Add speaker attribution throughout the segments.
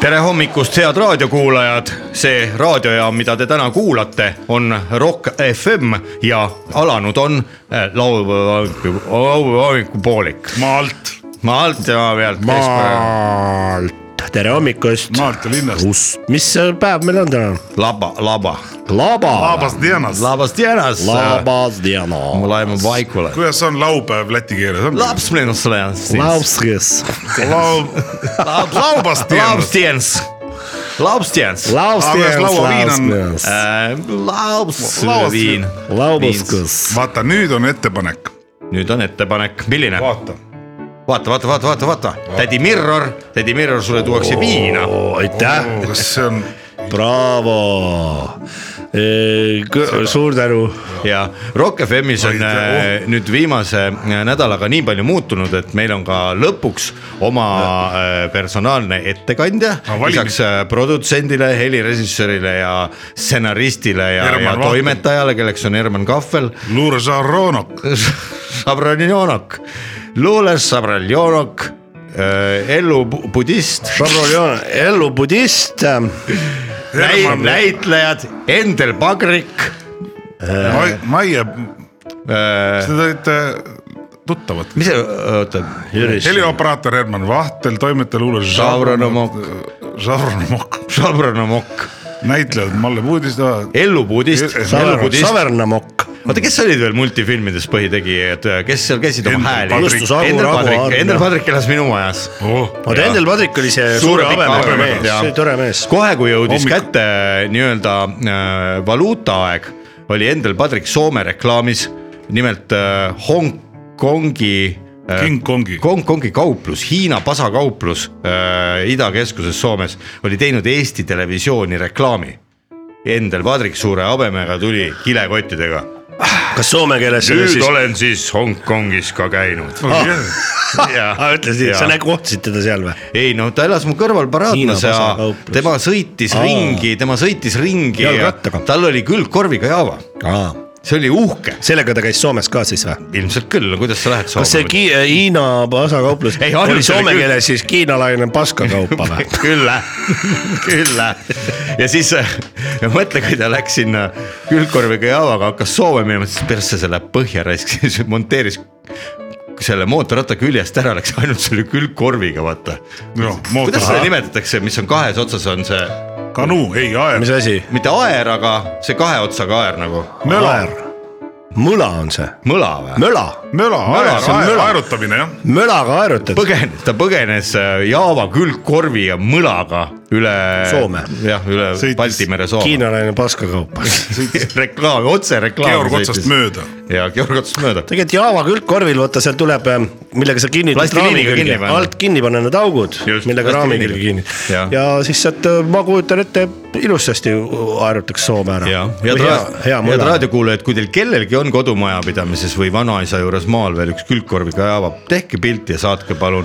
Speaker 1: tere hommikust , head raadiokuulajad . see raadiojaam , mida te täna kuulate , on Rock FM ja alanud on äh, laupäeva hommiku- laupäeva hommikupoolik .
Speaker 2: maalt ,
Speaker 1: maalt ja pealt .
Speaker 3: maalt . tere hommikust .
Speaker 2: maalt ja linnast .
Speaker 3: mis päev meil on täna ?
Speaker 1: laba , laba .
Speaker 3: laba .
Speaker 2: Labas Dianas .
Speaker 1: labas tienas .
Speaker 3: labas diana .
Speaker 1: mu laim on vaikule .
Speaker 2: kuidas on laupäev läti keeles ?
Speaker 1: laps meenus sulle .
Speaker 3: Lauskis .
Speaker 2: laub- , laubas
Speaker 1: laps
Speaker 2: Dianas .
Speaker 1: tienas . laps tienas .
Speaker 2: Alles lauaviin on-
Speaker 3: Lauskis .
Speaker 1: äh, laps
Speaker 2: Laos-
Speaker 1: viin .
Speaker 3: Laubuskus .
Speaker 2: vaata , nüüd on ettepanek .
Speaker 1: nüüd on ettepanek , milline ?
Speaker 2: vaata .
Speaker 1: vaata , vaata , vaata , vaata , vaata , tädi Mirror , tädi Mirror , sulle tuuakse viina .
Speaker 3: aitäh ,
Speaker 2: kas see on ,
Speaker 3: braavo . Äh, suur tänu .
Speaker 1: ja Rock FM-is on
Speaker 2: Aitäh.
Speaker 1: äh, nüüd viimase äh, nädalaga nii palju muutunud , et meil on ka lõpuks oma äh, personaalne ettekandja
Speaker 2: No, . valime.
Speaker 1: lisaks äh, produtsendile , helirežissöörile ja stsenaristile ja,
Speaker 2: Herman
Speaker 1: ja
Speaker 2: Vahter.
Speaker 1: toimetajale , kelleks on Herman Kahvel
Speaker 2: Luure Žaronok ,
Speaker 1: Sabranjonok , luules Sabranjonok , ellu bu- budist ,
Speaker 3: ellu budist . äh,
Speaker 2: Herman-
Speaker 1: näitlejad Endel Pagrik
Speaker 2: Maie ,
Speaker 1: Äh,
Speaker 2: te olite tuttavad .
Speaker 1: mis see , oota ,
Speaker 2: helioperaator Herman Vahtel , toimetaja luule
Speaker 1: Žavronomok. .
Speaker 2: Žavronomok ,
Speaker 1: Šabronomokk ,
Speaker 2: näitlejad Malle Puudista ,
Speaker 1: Ellu Budist , Ellu Budist ,
Speaker 3: Savernamokk .
Speaker 1: oota , kes olid veel multifilmides põhitegijad , kes seal käisid oma
Speaker 2: Endel
Speaker 1: hääli ?
Speaker 2: Padrik.
Speaker 3: Justus Aru,
Speaker 1: Endel
Speaker 3: Raago
Speaker 1: Padrik ,
Speaker 3: Aar,
Speaker 1: Endel
Speaker 3: jah.
Speaker 1: Padrik elas minu majas .
Speaker 2: Oh,
Speaker 3: oota , Endel Padrik oli see
Speaker 1: Suure
Speaker 3: suure
Speaker 1: pika
Speaker 3: habemega
Speaker 1: habemega,
Speaker 3: mees ,
Speaker 1: jah.
Speaker 3: see oli tore mees .
Speaker 1: kohe , kui jõudis
Speaker 2: Hommikul.
Speaker 1: kätte nii-öelda äh, valuutaaeg , oli Endel Padrik Soome reklaamis , nimelt äh, Hongkongi äh,
Speaker 2: King Kongi ,
Speaker 1: Hongkongi kauplus , Hiina pasakauplus äh, idakeskuses Soomes oli teinud Eesti Televisiooni reklaami . Endel Padrik suure habemega tuli kilekottidega .
Speaker 3: kas soome keeles see oli
Speaker 1: nüüd
Speaker 3: siis ?
Speaker 1: olen siis Hongkongis ka käinud .
Speaker 3: aa , Ah, ütle siis , sa näe- kohtasid teda seal või ?
Speaker 1: ei no ta elas mu kõrval paraadnas
Speaker 3: Hiina
Speaker 1: ja
Speaker 3: pasakauplus.
Speaker 1: tema sõitis
Speaker 3: Aa.
Speaker 1: ringi , tema sõitis ringi ja
Speaker 3: Jalgrattaga.
Speaker 1: tal oli külgkorviga jaava ,
Speaker 3: aa ,
Speaker 1: see oli uhke ,
Speaker 3: sellega ta käis Soomes ka siis või ?
Speaker 1: ilmselt küll , kuidas sa lähed
Speaker 3: kas see
Speaker 1: Soome ?
Speaker 3: ki- , Hiina pasakauplus
Speaker 1: Ei, ainult
Speaker 3: oli soome
Speaker 1: oli küll.
Speaker 3: keeles siis hiinalaine paskakaupa või ?
Speaker 1: küll , küll ja siis äh, ja mõtle , kui ta läks sinna külgkorviga jaavaga , hakkas Soome minema , siis persse see läheb põhja raisk , siis monteeris selle mootorratta küljest ära , läks ainult selle külgkorviga , vaata .
Speaker 2: noh ,
Speaker 1: kuidas
Speaker 2: mootor
Speaker 1: seda , nimetatakse , mis on kahes otsas , on see
Speaker 2: kanuu , ei aer
Speaker 3: mis , asi ?
Speaker 1: mitte aer , aga see kahe otsaga aer nagu
Speaker 2: möla ,
Speaker 3: mõla on see ,
Speaker 1: mõla või ?
Speaker 3: möla ,
Speaker 2: möla ,
Speaker 1: Möla,
Speaker 2: aer
Speaker 1: see on , möla.
Speaker 2: aerutamine jah ,
Speaker 3: mölaga haerutad .
Speaker 1: põgenes , ta põgenes äh, Java külgkorvi ja mõlaga üle .
Speaker 3: Soome.
Speaker 1: jah , üle
Speaker 2: Sõitis
Speaker 1: Balti mere Soome .
Speaker 3: hiinalaine paskakaupa .
Speaker 1: reklaam , otsereklaam .
Speaker 2: Georg otsast . mööda ,
Speaker 1: ja Georg otsast mööda .
Speaker 3: tegelikult Java külgkorvil , vaata seal tuleb , millega sa kinni .
Speaker 1: Plastiliiniga kinni paned.
Speaker 3: alt kinni paned need augud
Speaker 1: Just, ,
Speaker 3: millega raami külge
Speaker 1: plastiliiniga.
Speaker 3: kinni .
Speaker 1: Jah.
Speaker 3: ja siis sealt , ma kujutan ette , ilusasti haerutaks Soome ära .
Speaker 1: ja , head
Speaker 3: hea , hea
Speaker 1: raadio , head
Speaker 3: mõla .
Speaker 1: raadiokuulajad , kui teil kellelgi on kodumajapidamises või vanaisa juures maal veel üks külgkorviga jaava , tehke pilt ja saatke palun ,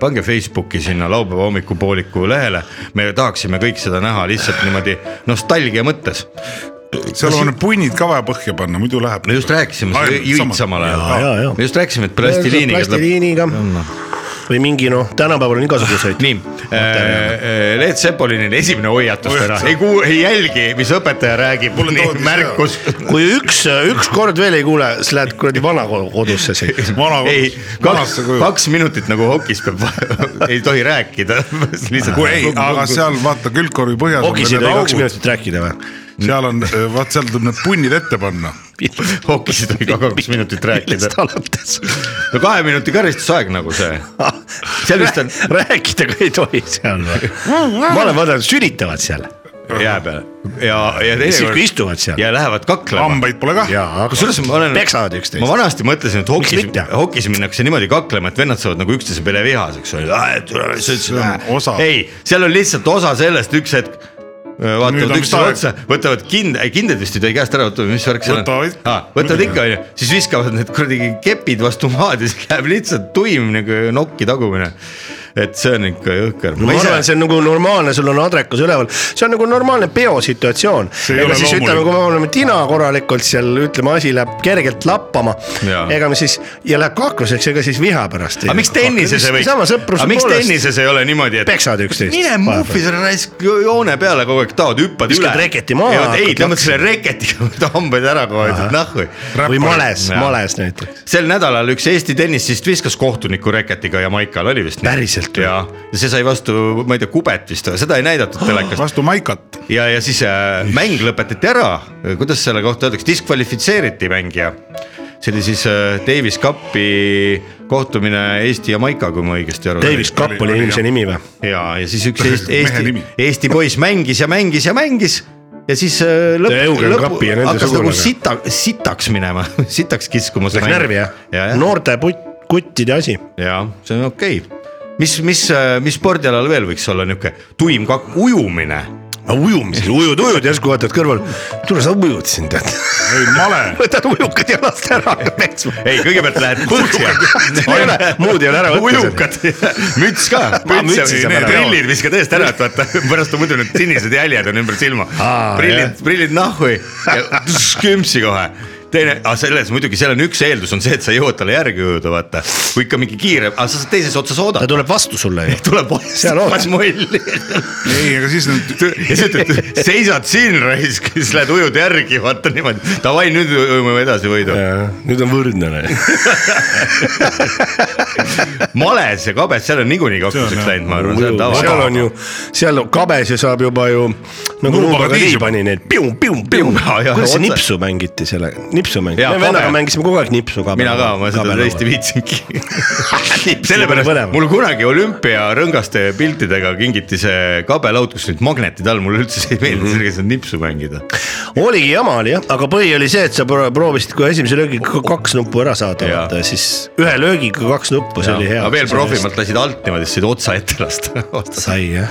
Speaker 1: pange Facebooki sinna laupäeva hommikupooliku lehele . me tahaksime kõik seda näha lihtsalt niimoodi nostalgia mõttes .
Speaker 2: seal on punnid ka vaja põhja panna , muidu läheb .
Speaker 1: me just rääkisime seda Jõid samal
Speaker 3: ja,
Speaker 1: ajal
Speaker 3: ja. ,
Speaker 1: me just rääkisime , et plastiliiniga tuleb
Speaker 3: plastiliiniga või mingi noh , tänapäeval on igasuguseid .
Speaker 1: nii , Äh, Leet Sepolinil esimene hoiatus täna , ei kuul- , ei jälgi , mis õpetaja räägib , mul
Speaker 2: Mulle
Speaker 1: on
Speaker 2: toodi
Speaker 1: märkus .
Speaker 3: kui üks , üks kord veel ei kuule , siis lähed kuradi vanakodusse siis .
Speaker 2: vana ,
Speaker 1: ei , kaks
Speaker 2: vanasse , kuju .
Speaker 1: kaks minutit nagu hokis peab , ei tohi rääkida .
Speaker 2: kui ei , aga seal vaata külgkorvi põhjas .
Speaker 3: hogisid või kaks minutit rääkida või ?
Speaker 2: seal on , vaat seal tuleb need punnid ette panna .
Speaker 1: hokis ei tohi ka kaks minutit rääkida
Speaker 3: millest . alates ?
Speaker 1: no kahe minuti karistusaeg nagu see , seal vist on
Speaker 3: rääkida ka ei tohi seal või ? ma olen vaadanud , sülitavad seal ,
Speaker 1: jää peal ja , ja
Speaker 3: siis kui
Speaker 1: teinekord
Speaker 3: istuvad seal .
Speaker 1: ja lähevad kaklema .
Speaker 2: hambaid pole kah .
Speaker 3: jaa ,
Speaker 1: kusjuures ma olen ,
Speaker 3: peksavad
Speaker 1: ma
Speaker 3: üksteist .
Speaker 1: vanasti mõtlesin , et hokis
Speaker 3: Miks mitte? ,
Speaker 1: hokis minnakse niimoodi kaklema , et vennad saavad nagu üksteise peale vihaseks ,
Speaker 2: See on osa.
Speaker 1: ei , seal on lihtsalt osa sellest , üks hetk äh,
Speaker 2: Nüüd on
Speaker 1: vaatavad
Speaker 2: vist
Speaker 1: üksteisele
Speaker 2: aeg.
Speaker 1: otsa , võtavad kind- , kindad vist ei tohi käest ära võtta või mis värk seal on
Speaker 2: Võtavad. ?
Speaker 1: võtavad ikka onju , siis viskavad need kuradi kepid vastu maad ja siis läheb lihtsalt tuim nagu nokki tagumine . et see on ikka jõhker .
Speaker 3: ma arvan , see on nagu normaalne , sul on adrekas üleval , see on nagu normaalne peosituatsioon .
Speaker 2: See ei
Speaker 3: ega
Speaker 2: ole
Speaker 3: siis
Speaker 2: loomulik.
Speaker 3: ütleme , kui me oleme tina korralikult seal , ütleme , asi läheb kergelt lappama
Speaker 1: Jaa. .
Speaker 3: ega me siis ja läheb kakluseks , ega siis viha pärast .
Speaker 1: aga miks tennises ei võiks ,
Speaker 3: sama sõpruse
Speaker 1: aga miks
Speaker 3: poolest
Speaker 1: tennises ei ole niimoodi , et
Speaker 3: peksad üksteist .
Speaker 1: mine muffi selle raisk jo- joone peale kogu aeg , tahad hüppad üle .
Speaker 3: Viskad reketi maha,
Speaker 1: ei
Speaker 3: hakkad ,
Speaker 1: tõmbad selle reketiga hambaid ära kohe , et nahhu .
Speaker 3: või males ,
Speaker 1: Jaa.
Speaker 3: males näiteks .
Speaker 1: sel nädalal üks Eesti tennisist viskas kohtuniku reketiga Jamaikal , oli vist nii ?
Speaker 3: Päriselt või?
Speaker 1: ja , ja see sai vastu , ma ei tea , kubet vist , seda ei näidatud telekas .
Speaker 2: vastu Maikat .
Speaker 1: ja , ja siis äh, mäng lõpetati ära , kuidas selle kohta öeldakse , diskvalifitseeriti mängija . see oli siis äh, Davis Cupi kohtumine Eesti ja Maika , kui ma õigesti aru
Speaker 3: Davis Kapp oli inimese nimi või ?
Speaker 1: ja , ja siis üks Eesti , Eesti
Speaker 2: nimi. ,
Speaker 1: Eesti poiss mängis ja mängis ja mängis ja siis äh, lõpp
Speaker 3: Ja , Eugen
Speaker 1: lõpp
Speaker 3: Kapi ja nende
Speaker 1: hakkas nagu
Speaker 3: sugulane.
Speaker 1: sita , sitaks minema , sitaks kiskuma .
Speaker 3: Läks närvi jah
Speaker 1: ja, ? ja,
Speaker 3: noorte put- , kuttide asi .
Speaker 1: ja see on okei okay. . mis , mis , mis spordialal veel võiks olla niuke tuim kak- , ujumine .
Speaker 3: ujumisel , ujud , ujud , järsku vaatad kõrval , tule sa ujud siin tead .
Speaker 2: ei , male .
Speaker 3: võtad ujukad jalast ära , hakkad peksma .
Speaker 1: ei , kõigepealt lähed põhja
Speaker 3: ei ole , muud ei ole ära võtta .
Speaker 1: ujukad , müts ka ,
Speaker 3: Ma mütsi saab ära
Speaker 1: prillid viska tõesti ära , et vaata pärast on muidu need sinised jäljed on ümber silma
Speaker 3: Aa, .
Speaker 1: prillid , prillid nahhu ja tss, kümpsi kohe teine , aga selles muidugi , seal on üks eeldus on see , et sa jõuad talle järgi ujuda , vaata . kui ikka mingi kiire , aga sa saad teises otsas
Speaker 3: ta
Speaker 1: oodata .
Speaker 3: tuleb vastu sulle ju .
Speaker 1: tuleb
Speaker 3: Seal ootad.
Speaker 1: otsas molli .
Speaker 2: ei , aga siis need
Speaker 1: ja sa ütled , seisad siin raisk , siis lähed ujud järgi , vaata niimoodi . Davai , nüüd ujume edasi võidu .
Speaker 3: nüüd on võrdne .
Speaker 1: males ja kabes , seal on niikuinii kakluseks
Speaker 2: jah.
Speaker 1: läinud , ma arvan , see on tava .
Speaker 3: seal on ju , seal on- kabes ju saab juba ju nagu
Speaker 2: Nuubaga
Speaker 3: nuubaga nii
Speaker 2: tiisub.
Speaker 3: pani neid pium , pium , pium .
Speaker 1: Ja, ja,
Speaker 3: kuidas see
Speaker 1: otse.
Speaker 3: nipsu mängiti selle , nipsu mängiti ,
Speaker 1: Jaa,
Speaker 3: me vennaga
Speaker 1: kabe.
Speaker 3: mängisime kogu aeg nipsu kabel ..
Speaker 1: mina ka , ma seda tõesti viitsingi sellepärast
Speaker 3: Põnev.
Speaker 1: mul kunagi olümpiarõngaste piltidega kingiti see kabelaud , kus olid magnetid all , mulle üldse see ei meeldinud , sellega saab nipsu mängida .
Speaker 3: oligi jama oli jah , aga põhi oli see , et sa pro- proovisid kohe esimese löögiga ka kaks nuppu ära saada ,
Speaker 1: Jaa.
Speaker 3: vaata ja siis ühe löögiga kaks nuppu , see oli hea
Speaker 1: aga . veel profimalt lasid alt niimoodi , siis said otsa ette lasta .
Speaker 3: sai jah ,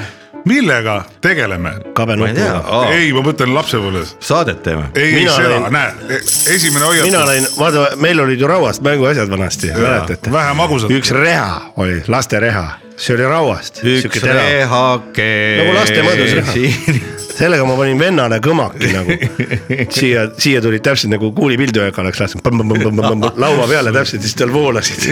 Speaker 2: millega tegeleme ?
Speaker 3: kabe
Speaker 1: ma ei tea
Speaker 3: nupuga .
Speaker 2: ei , ma mõtlen lapsepõlves .
Speaker 1: saadet teeme .
Speaker 2: ei , ei
Speaker 3: Mina
Speaker 2: seda ,
Speaker 3: olin-
Speaker 2: näe , esimene
Speaker 3: mina
Speaker 2: hoiatus ,
Speaker 3: olin , vaata , meil olid ju rauast mänguasjad vanasti , mäletate ?
Speaker 2: vähe magusat .
Speaker 3: üks reha oli , laste reha , see oli rauast .
Speaker 1: üks . rehake .
Speaker 3: Nagu lastemõõdus reha. sellega ma panin vennale kõmaki nagu siia , siia tulid täpselt nagu kuulipildujaga oleks lasknud laua peale täpselt , siis tal voolasid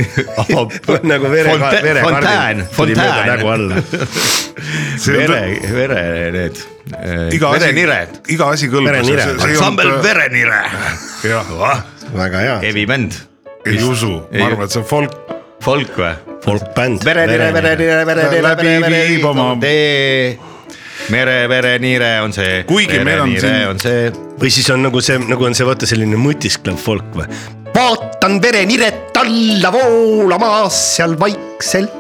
Speaker 3: nagu vere ,
Speaker 1: Fontä-
Speaker 3: verekardid
Speaker 1: fontäänn,
Speaker 3: tulid mööda
Speaker 1: fontäänn.
Speaker 3: nägu alla .
Speaker 1: vere , vere need , verenired .
Speaker 2: iga asi kõlbas .
Speaker 3: Verenire. äh,
Speaker 1: ansambel . Verenire .
Speaker 2: äh, jah ,
Speaker 3: väga hea .
Speaker 1: heavy bänd .
Speaker 2: ei usu , ma arvan , et see on folk .
Speaker 1: folk või ?
Speaker 3: folkbänd .
Speaker 1: verenire , verenire , verenire ,
Speaker 2: Läbi
Speaker 1: verenire ,
Speaker 2: Viibama.
Speaker 1: tee . mere , vereniire on see .
Speaker 2: Kuigi meil on siin-
Speaker 1: on see ,
Speaker 3: või siis on nagu see , nagu on see , vaata selline mõtisklev folk või . vaatan vereniret alla voolamas seal vaikselt ,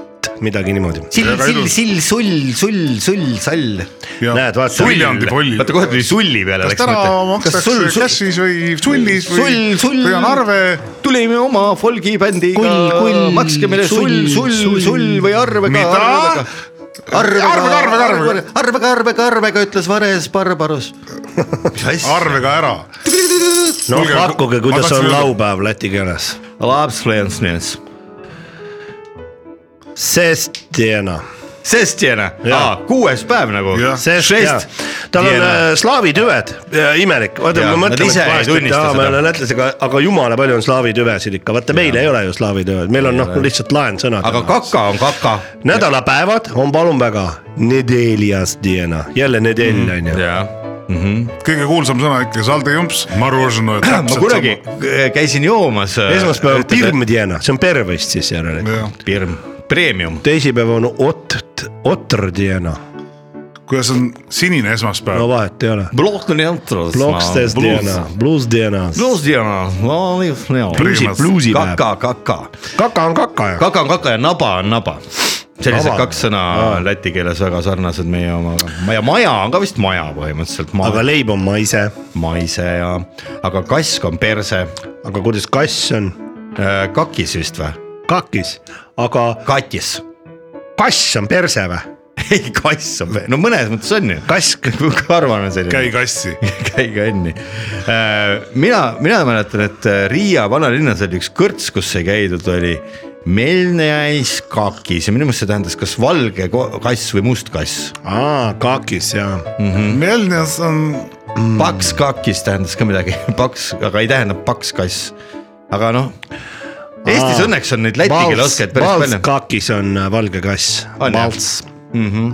Speaker 3: midagi niimoodi .
Speaker 1: sill
Speaker 2: Väga ,
Speaker 1: sill ,
Speaker 2: ilus.
Speaker 1: sill , sull , sull , sull , sall .
Speaker 3: näed , vaata .
Speaker 2: Suljandi poll .
Speaker 1: vaata kohe tuli sulli peale .
Speaker 2: kas täna makstakse cash'is või sullis või
Speaker 1: sull , sull .
Speaker 2: või on arve ?
Speaker 1: tulime oma folgibändiga .
Speaker 3: Kull, kull,
Speaker 1: makske meile sull ,
Speaker 3: sull,
Speaker 1: sull , sull või arvega .
Speaker 2: Mida?
Speaker 1: arvega ,
Speaker 2: Arvega, arvega, arvega.
Speaker 1: arvega , arvega , arvega , ütles Vares Barbarus . mis asja ?
Speaker 2: arvega ära .
Speaker 3: no
Speaker 2: Kuulge,
Speaker 3: pakkuge , kuidas
Speaker 2: ma tahtsin
Speaker 3: on
Speaker 2: öelda-
Speaker 3: laupäev läti keeles .
Speaker 1: lapsflensnes .
Speaker 3: Sestjena .
Speaker 1: Sestjena
Speaker 3: Jaa. ,
Speaker 1: kuues päev nagu .
Speaker 2: Jah.
Speaker 3: Sest , tal on äh, slaavi tüved , imelik , vaata
Speaker 1: Jaa,
Speaker 3: ma
Speaker 1: nad
Speaker 3: mõtlen ,
Speaker 1: ise
Speaker 3: et
Speaker 1: ei
Speaker 3: vahest , et
Speaker 1: tunnista
Speaker 3: aa ,
Speaker 1: seda.
Speaker 3: me oleme lätlasega , aga jumala palju on slaavi tüvesid ikka , vaata meil ei ole ju slaavi tüved , meil on noh , lihtsalt laensõnad .
Speaker 1: aga kaka on kaka .
Speaker 3: nädalapäevad on palun väga , nedeljas diena , jälle nedelj
Speaker 1: Mm.
Speaker 3: on ju .
Speaker 1: jaa .
Speaker 2: kõige kuulsam sõna ikka , saldejumps , maružno .
Speaker 1: ma kunagi käisin joomas . äh,
Speaker 3: esmaspäev on pirm diena , see on pervest siis järelikult .
Speaker 2: jah ,
Speaker 1: Pirm , Premium .
Speaker 3: teisipäev on ott , otr diena ,
Speaker 2: kuidas on sinine
Speaker 3: no
Speaker 2: esmaspäev ?
Speaker 3: vahet ei ole .
Speaker 1: Blokni antros .
Speaker 3: Blockstes diena , blues diena ,
Speaker 1: Bluesdiana , no nii , nii .
Speaker 3: bluusi ,
Speaker 2: Primas.
Speaker 3: bluusipäev .
Speaker 1: kaka , kaka .
Speaker 3: kaka on kaka ju .
Speaker 1: kaka on kaka ja naba on naba . sellised
Speaker 3: Naba.
Speaker 1: kaks sõna
Speaker 3: Aa.
Speaker 1: läti keeles väga sarnased meie omaga . ja maja on ka vist maja põhimõtteliselt .
Speaker 3: aga leib on maise ,
Speaker 1: maise ja , aga kask on perse .
Speaker 3: aga kuidas kass on ?
Speaker 1: kakis vist või ?
Speaker 3: kakis , aga
Speaker 1: katis .
Speaker 3: kass on perse või ?
Speaker 1: ei kass on , no mõnes mõttes on ju .
Speaker 3: kask .
Speaker 1: karvan on selline .
Speaker 2: käi kassi .
Speaker 1: käige õnni . mina , mina mäletan , et äh, Riia vanalinnas oli üks kõrts , kus sai käidud , oli Melniais kakis ja minu meelest see tähendas kas valge ko- kass või must kass .
Speaker 3: aa , kakis jaa .
Speaker 2: Melnias on ,
Speaker 3: Mm.
Speaker 1: paks kakis tähendas ka midagi , paks , aga ei tähenda paks kass . aga noh , Eestis
Speaker 3: Aa.
Speaker 1: õnneks on neid läti keele oskajaid päris
Speaker 3: Vals
Speaker 1: palju .
Speaker 3: kakis on äh, valge kass .
Speaker 1: On, jah.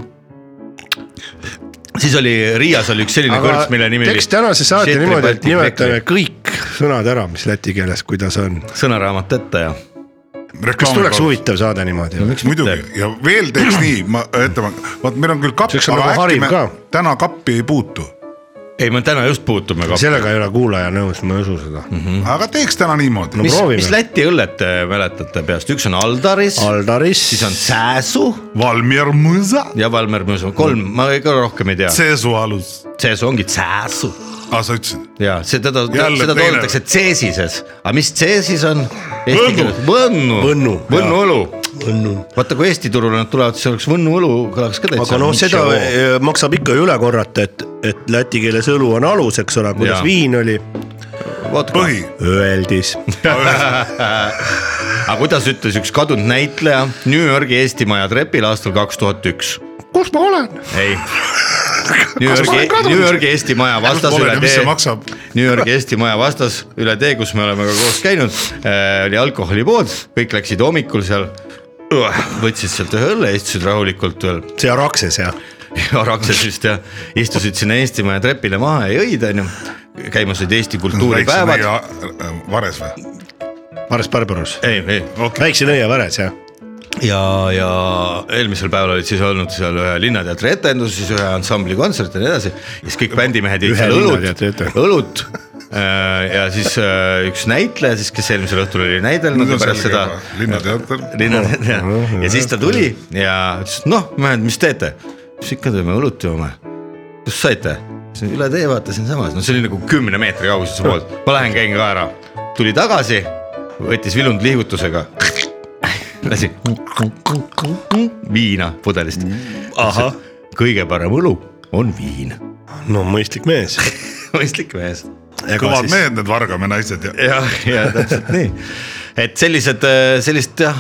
Speaker 1: siis oli Riias oli üks selline kõrts , mille nimi oli
Speaker 3: teeks . tänase saate
Speaker 1: Šetri
Speaker 3: niimoodi , et
Speaker 1: Baltic
Speaker 3: nimetame
Speaker 1: Bakery.
Speaker 3: kõik sõnad ära , mis läti keeles , kuidas on .
Speaker 1: sõnaraamat ette ja .
Speaker 3: kas tuleks
Speaker 2: reklaami .
Speaker 3: huvitav saade niimoodi või ?
Speaker 2: muidugi ja veel teeks nii , ma ütlen , vaat meil on küll kapp ,
Speaker 3: See oleks nagu
Speaker 2: aga äkki
Speaker 3: hariv
Speaker 2: me
Speaker 3: ka.
Speaker 2: täna kappi ei puutu .
Speaker 1: ei , me täna just puutume ka .
Speaker 3: sellega ei ole kuulaja nõus , ma ei usu seda .
Speaker 1: Mhm.
Speaker 2: aga teeks täna niimoodi .
Speaker 1: mis ,
Speaker 3: proovime.
Speaker 1: mis Läti õllet te mäletate peast , üks on Aldaris
Speaker 3: Aldaris .
Speaker 1: siis on Sääsu
Speaker 2: Valmier mõõsa ,
Speaker 1: ja Valmer Mõõsu , kolm , ma ka rohkem ei tea ,
Speaker 2: seesu alus .
Speaker 1: Sääsu ongi Sääsu
Speaker 2: aa , sa ütlesid .
Speaker 1: ja see teda ,
Speaker 2: Jälle
Speaker 1: seda
Speaker 2: teine.
Speaker 1: toodetakse Cesises , aga mis Cesis on ?
Speaker 2: Võnnu.
Speaker 1: Võnnu ,
Speaker 3: Võnnu,
Speaker 1: Võnnu õlu .
Speaker 3: õnnu .
Speaker 1: vaata , kui Eesti turule nad tulevad , siis oleks Võnnu õlu kõlaks ka täitsa .
Speaker 3: aga noh , seda äh, maksab ikka üle korrata , et , et läti keeles õlu on alus , eks ole , kuidas
Speaker 1: Jaa.
Speaker 3: viin oli ,
Speaker 1: põhi .
Speaker 2: põhi ,
Speaker 3: öeldis .
Speaker 1: aga kuidas ütles üks kadunud näitleja New Yorgi Eesti Maja trepil aastal kaks tuhat üks
Speaker 3: kus ma olen ?
Speaker 1: ei . New Yorgi , New Yorgi Eesti Maja vastas
Speaker 2: pole
Speaker 1: üle
Speaker 2: ja mis see
Speaker 1: tee
Speaker 2: maksab? ,
Speaker 1: New Yorgi Eesti Maja vastas üle tee , kus me oleme ka koos käinud äh, , oli alkoholipood , kõik läksid hommikul seal , võtsid sealt ühe õlle , istusid rahulikult veel
Speaker 3: see Arakses jah ?
Speaker 1: Arakses vist ja istusid sinna Eesti Maja trepile maha ja jõid , onju . käimas olid Eesti kultuuripäevad ,
Speaker 2: äh, vares või ?
Speaker 3: Vares Barbaros .
Speaker 1: ei , ei
Speaker 3: väikse nõia Vares jah .
Speaker 1: ja , ja eelmisel päeval olid siis olnud seal ühe Linnateatri etendus , siis ühe ansambli kontsert ja nii edasi . ja siis kõik bändimehed jõid
Speaker 3: Ühe
Speaker 1: seal õlut
Speaker 3: Linnateatri etendus. ,
Speaker 1: õlut . ja siis äh, üks näitleja siis , kes eelmisel õhtul oli näidelnud
Speaker 2: nüüd
Speaker 1: ja
Speaker 2: on
Speaker 1: pärast
Speaker 2: sellega
Speaker 1: seda Äh,
Speaker 2: juba linnateater .
Speaker 1: linnateater ja siis ta tuli ja ütles , noh , mehed , mis teete ? siis ikka teeme õlut joome . kust saite ? üle tee vaata siinsamas , no see oli nagu kümne meetri kaugusel su poolt , ma lähen käin ka ära . tuli tagasi , võttis vilund liigutusega . lasi viina pudelist . kõige parem õlu on viin .
Speaker 3: no mõistlik mees .
Speaker 1: mõistlik mees
Speaker 2: kõvad . mehed , need Vargamäe naised ja
Speaker 1: jah , ja täpselt nii . et sellised , sellist jah ,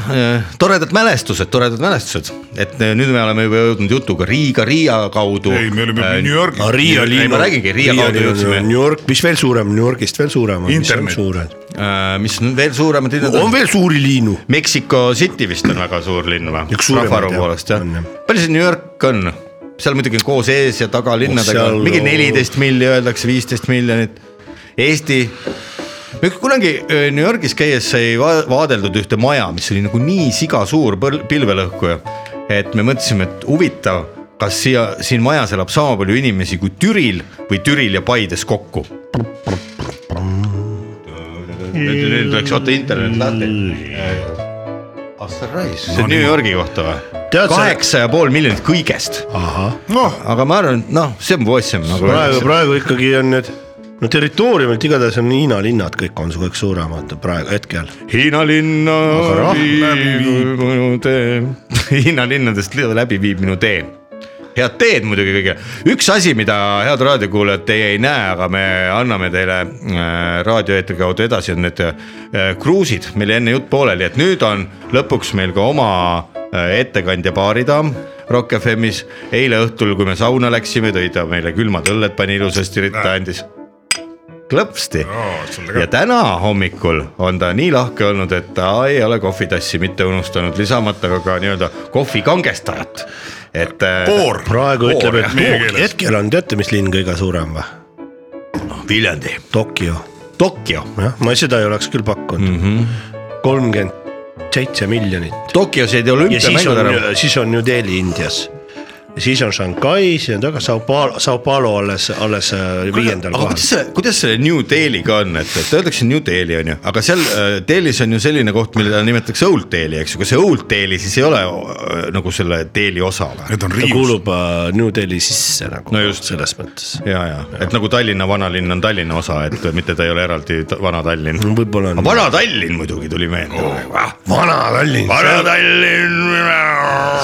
Speaker 1: toredad mälestused , toredad mälestused , et äh, nüüd me oleme juba jõudnud jutuga Riiga , Riia kaudu .
Speaker 2: ei , me olime New . Yorgis .
Speaker 3: Riia
Speaker 1: Ei,
Speaker 3: linn
Speaker 1: ma räägingi, Riia kaudu jõudsime.
Speaker 3: New York , mis veel suurem , New Yorgist veel suurem on , mis on
Speaker 2: Internet.
Speaker 3: suured .
Speaker 1: Äh, mis on veel suuremad linnad
Speaker 3: on . veel suuri liinu .
Speaker 1: Mexico City vist on väga suur linn või ?
Speaker 3: Üks suuremaid,
Speaker 1: rahvaarvu
Speaker 3: jah.
Speaker 1: poolest jah
Speaker 3: On, jah. .
Speaker 1: palju see New York on ? seal muidugi on koos ees ja taga linnadega oh, ,
Speaker 3: seal
Speaker 1: mingi
Speaker 3: on-
Speaker 1: neliteist milli öeldakse , viisteist miljonit . Eesti , me kunagi öö, New Yorgis käies sai va- vaadeldud ühte maja , mis oli nagu nii siga suur põl- pilvelõhkuja , et me mõtlesime , et huvitav , kas siia , siin majas elab sama palju inimesi kui Türil või Türil ja Paides kokku . nüüd nüüd läks oota internet
Speaker 3: Mm.
Speaker 1: lahti . Asteroid , see on New Yorgi kohta või ?
Speaker 3: Tead sa-
Speaker 1: kaheksa ja pool miljonit kõigest ,
Speaker 3: ahah ,
Speaker 2: noh ,
Speaker 1: aga ma arvan , et noh , see on võistsem nagu .
Speaker 3: Ah. praegu , praegu ikkagi on need , no territooriumilt igatahes on Hiina linnad kõik on su- kõik suuremad praegu hetkel .
Speaker 1: Hiina linna
Speaker 3: Aga rahva
Speaker 1: viib
Speaker 3: läbiviib.
Speaker 1: minu tee . Hiina linnadest li- läbi viib minu tee . head teed muidugi kõigile , üks asi , mida head raadiokuulajad , teie ei näe , aga me anname teile äh, raadioeetri kaudu edasi , on need äh, kruusid , meil jäi enne jutt pooleli , et nüüd on lõpuks meil ka oma äh, ettekandja baaridaam . Rock FM-is eile õhtul , kui me sauna läksime , tõi ta meile külmad õlled , pani ilusasti ritta , andis klõpsti
Speaker 2: sulle
Speaker 1: ja
Speaker 2: ka .
Speaker 1: täna hommikul on ta nii lahke olnud , et ta ei ole kohvitassi mitte unustanud lisamata ka, ka nii-öelda kohvikangestajat , et . äh,
Speaker 2: Poor ,
Speaker 3: praegu
Speaker 1: Pool,
Speaker 3: ütleb ,
Speaker 2: jah, meie
Speaker 3: et Tok-
Speaker 2: keeles.
Speaker 3: hetkel on , teate , mis linn kõige suurem või ?
Speaker 1: Viljandi ,
Speaker 3: Tokyo ,
Speaker 1: Tokyo ,
Speaker 3: jah , ma seda ei oleks küll pakkunud . kolmkümmend seitse miljonit
Speaker 1: Tokyos jäid
Speaker 3: ja siis
Speaker 1: olümpiamängud
Speaker 3: on
Speaker 1: ära ,,
Speaker 3: siis on New Delhi Indias . siis on Shanghai , siis on taga Sao Paulo , Sao Paulo alles , alles äh, viiendal
Speaker 1: aga
Speaker 3: kohal
Speaker 1: kuidas . see , kuidas selle New Delhi'ga on , et , et öeldakse New Delhi on ju , aga seal äh, Delhis on ju selline koht , mida nimetatakse Old Delhi , eks ju , kas see Old Delhi siis ei ole äh, nagu selle Delhi osa või ?
Speaker 2: need on
Speaker 3: ta
Speaker 2: riius .
Speaker 3: kuulub äh, New Delhi sisse nagu
Speaker 1: No just.
Speaker 3: selles mõttes .
Speaker 1: ja , ja , et nagu Tallinna vanalinn on Tallinna osa , et mitte ta ei ole eraldi ta- Vana-Tallinn .
Speaker 3: võib-olla on .
Speaker 1: Vana-Tallinn muidugi tuli meelde oh. .
Speaker 3: Vana-Tallinn .
Speaker 1: Vana-Tallinn .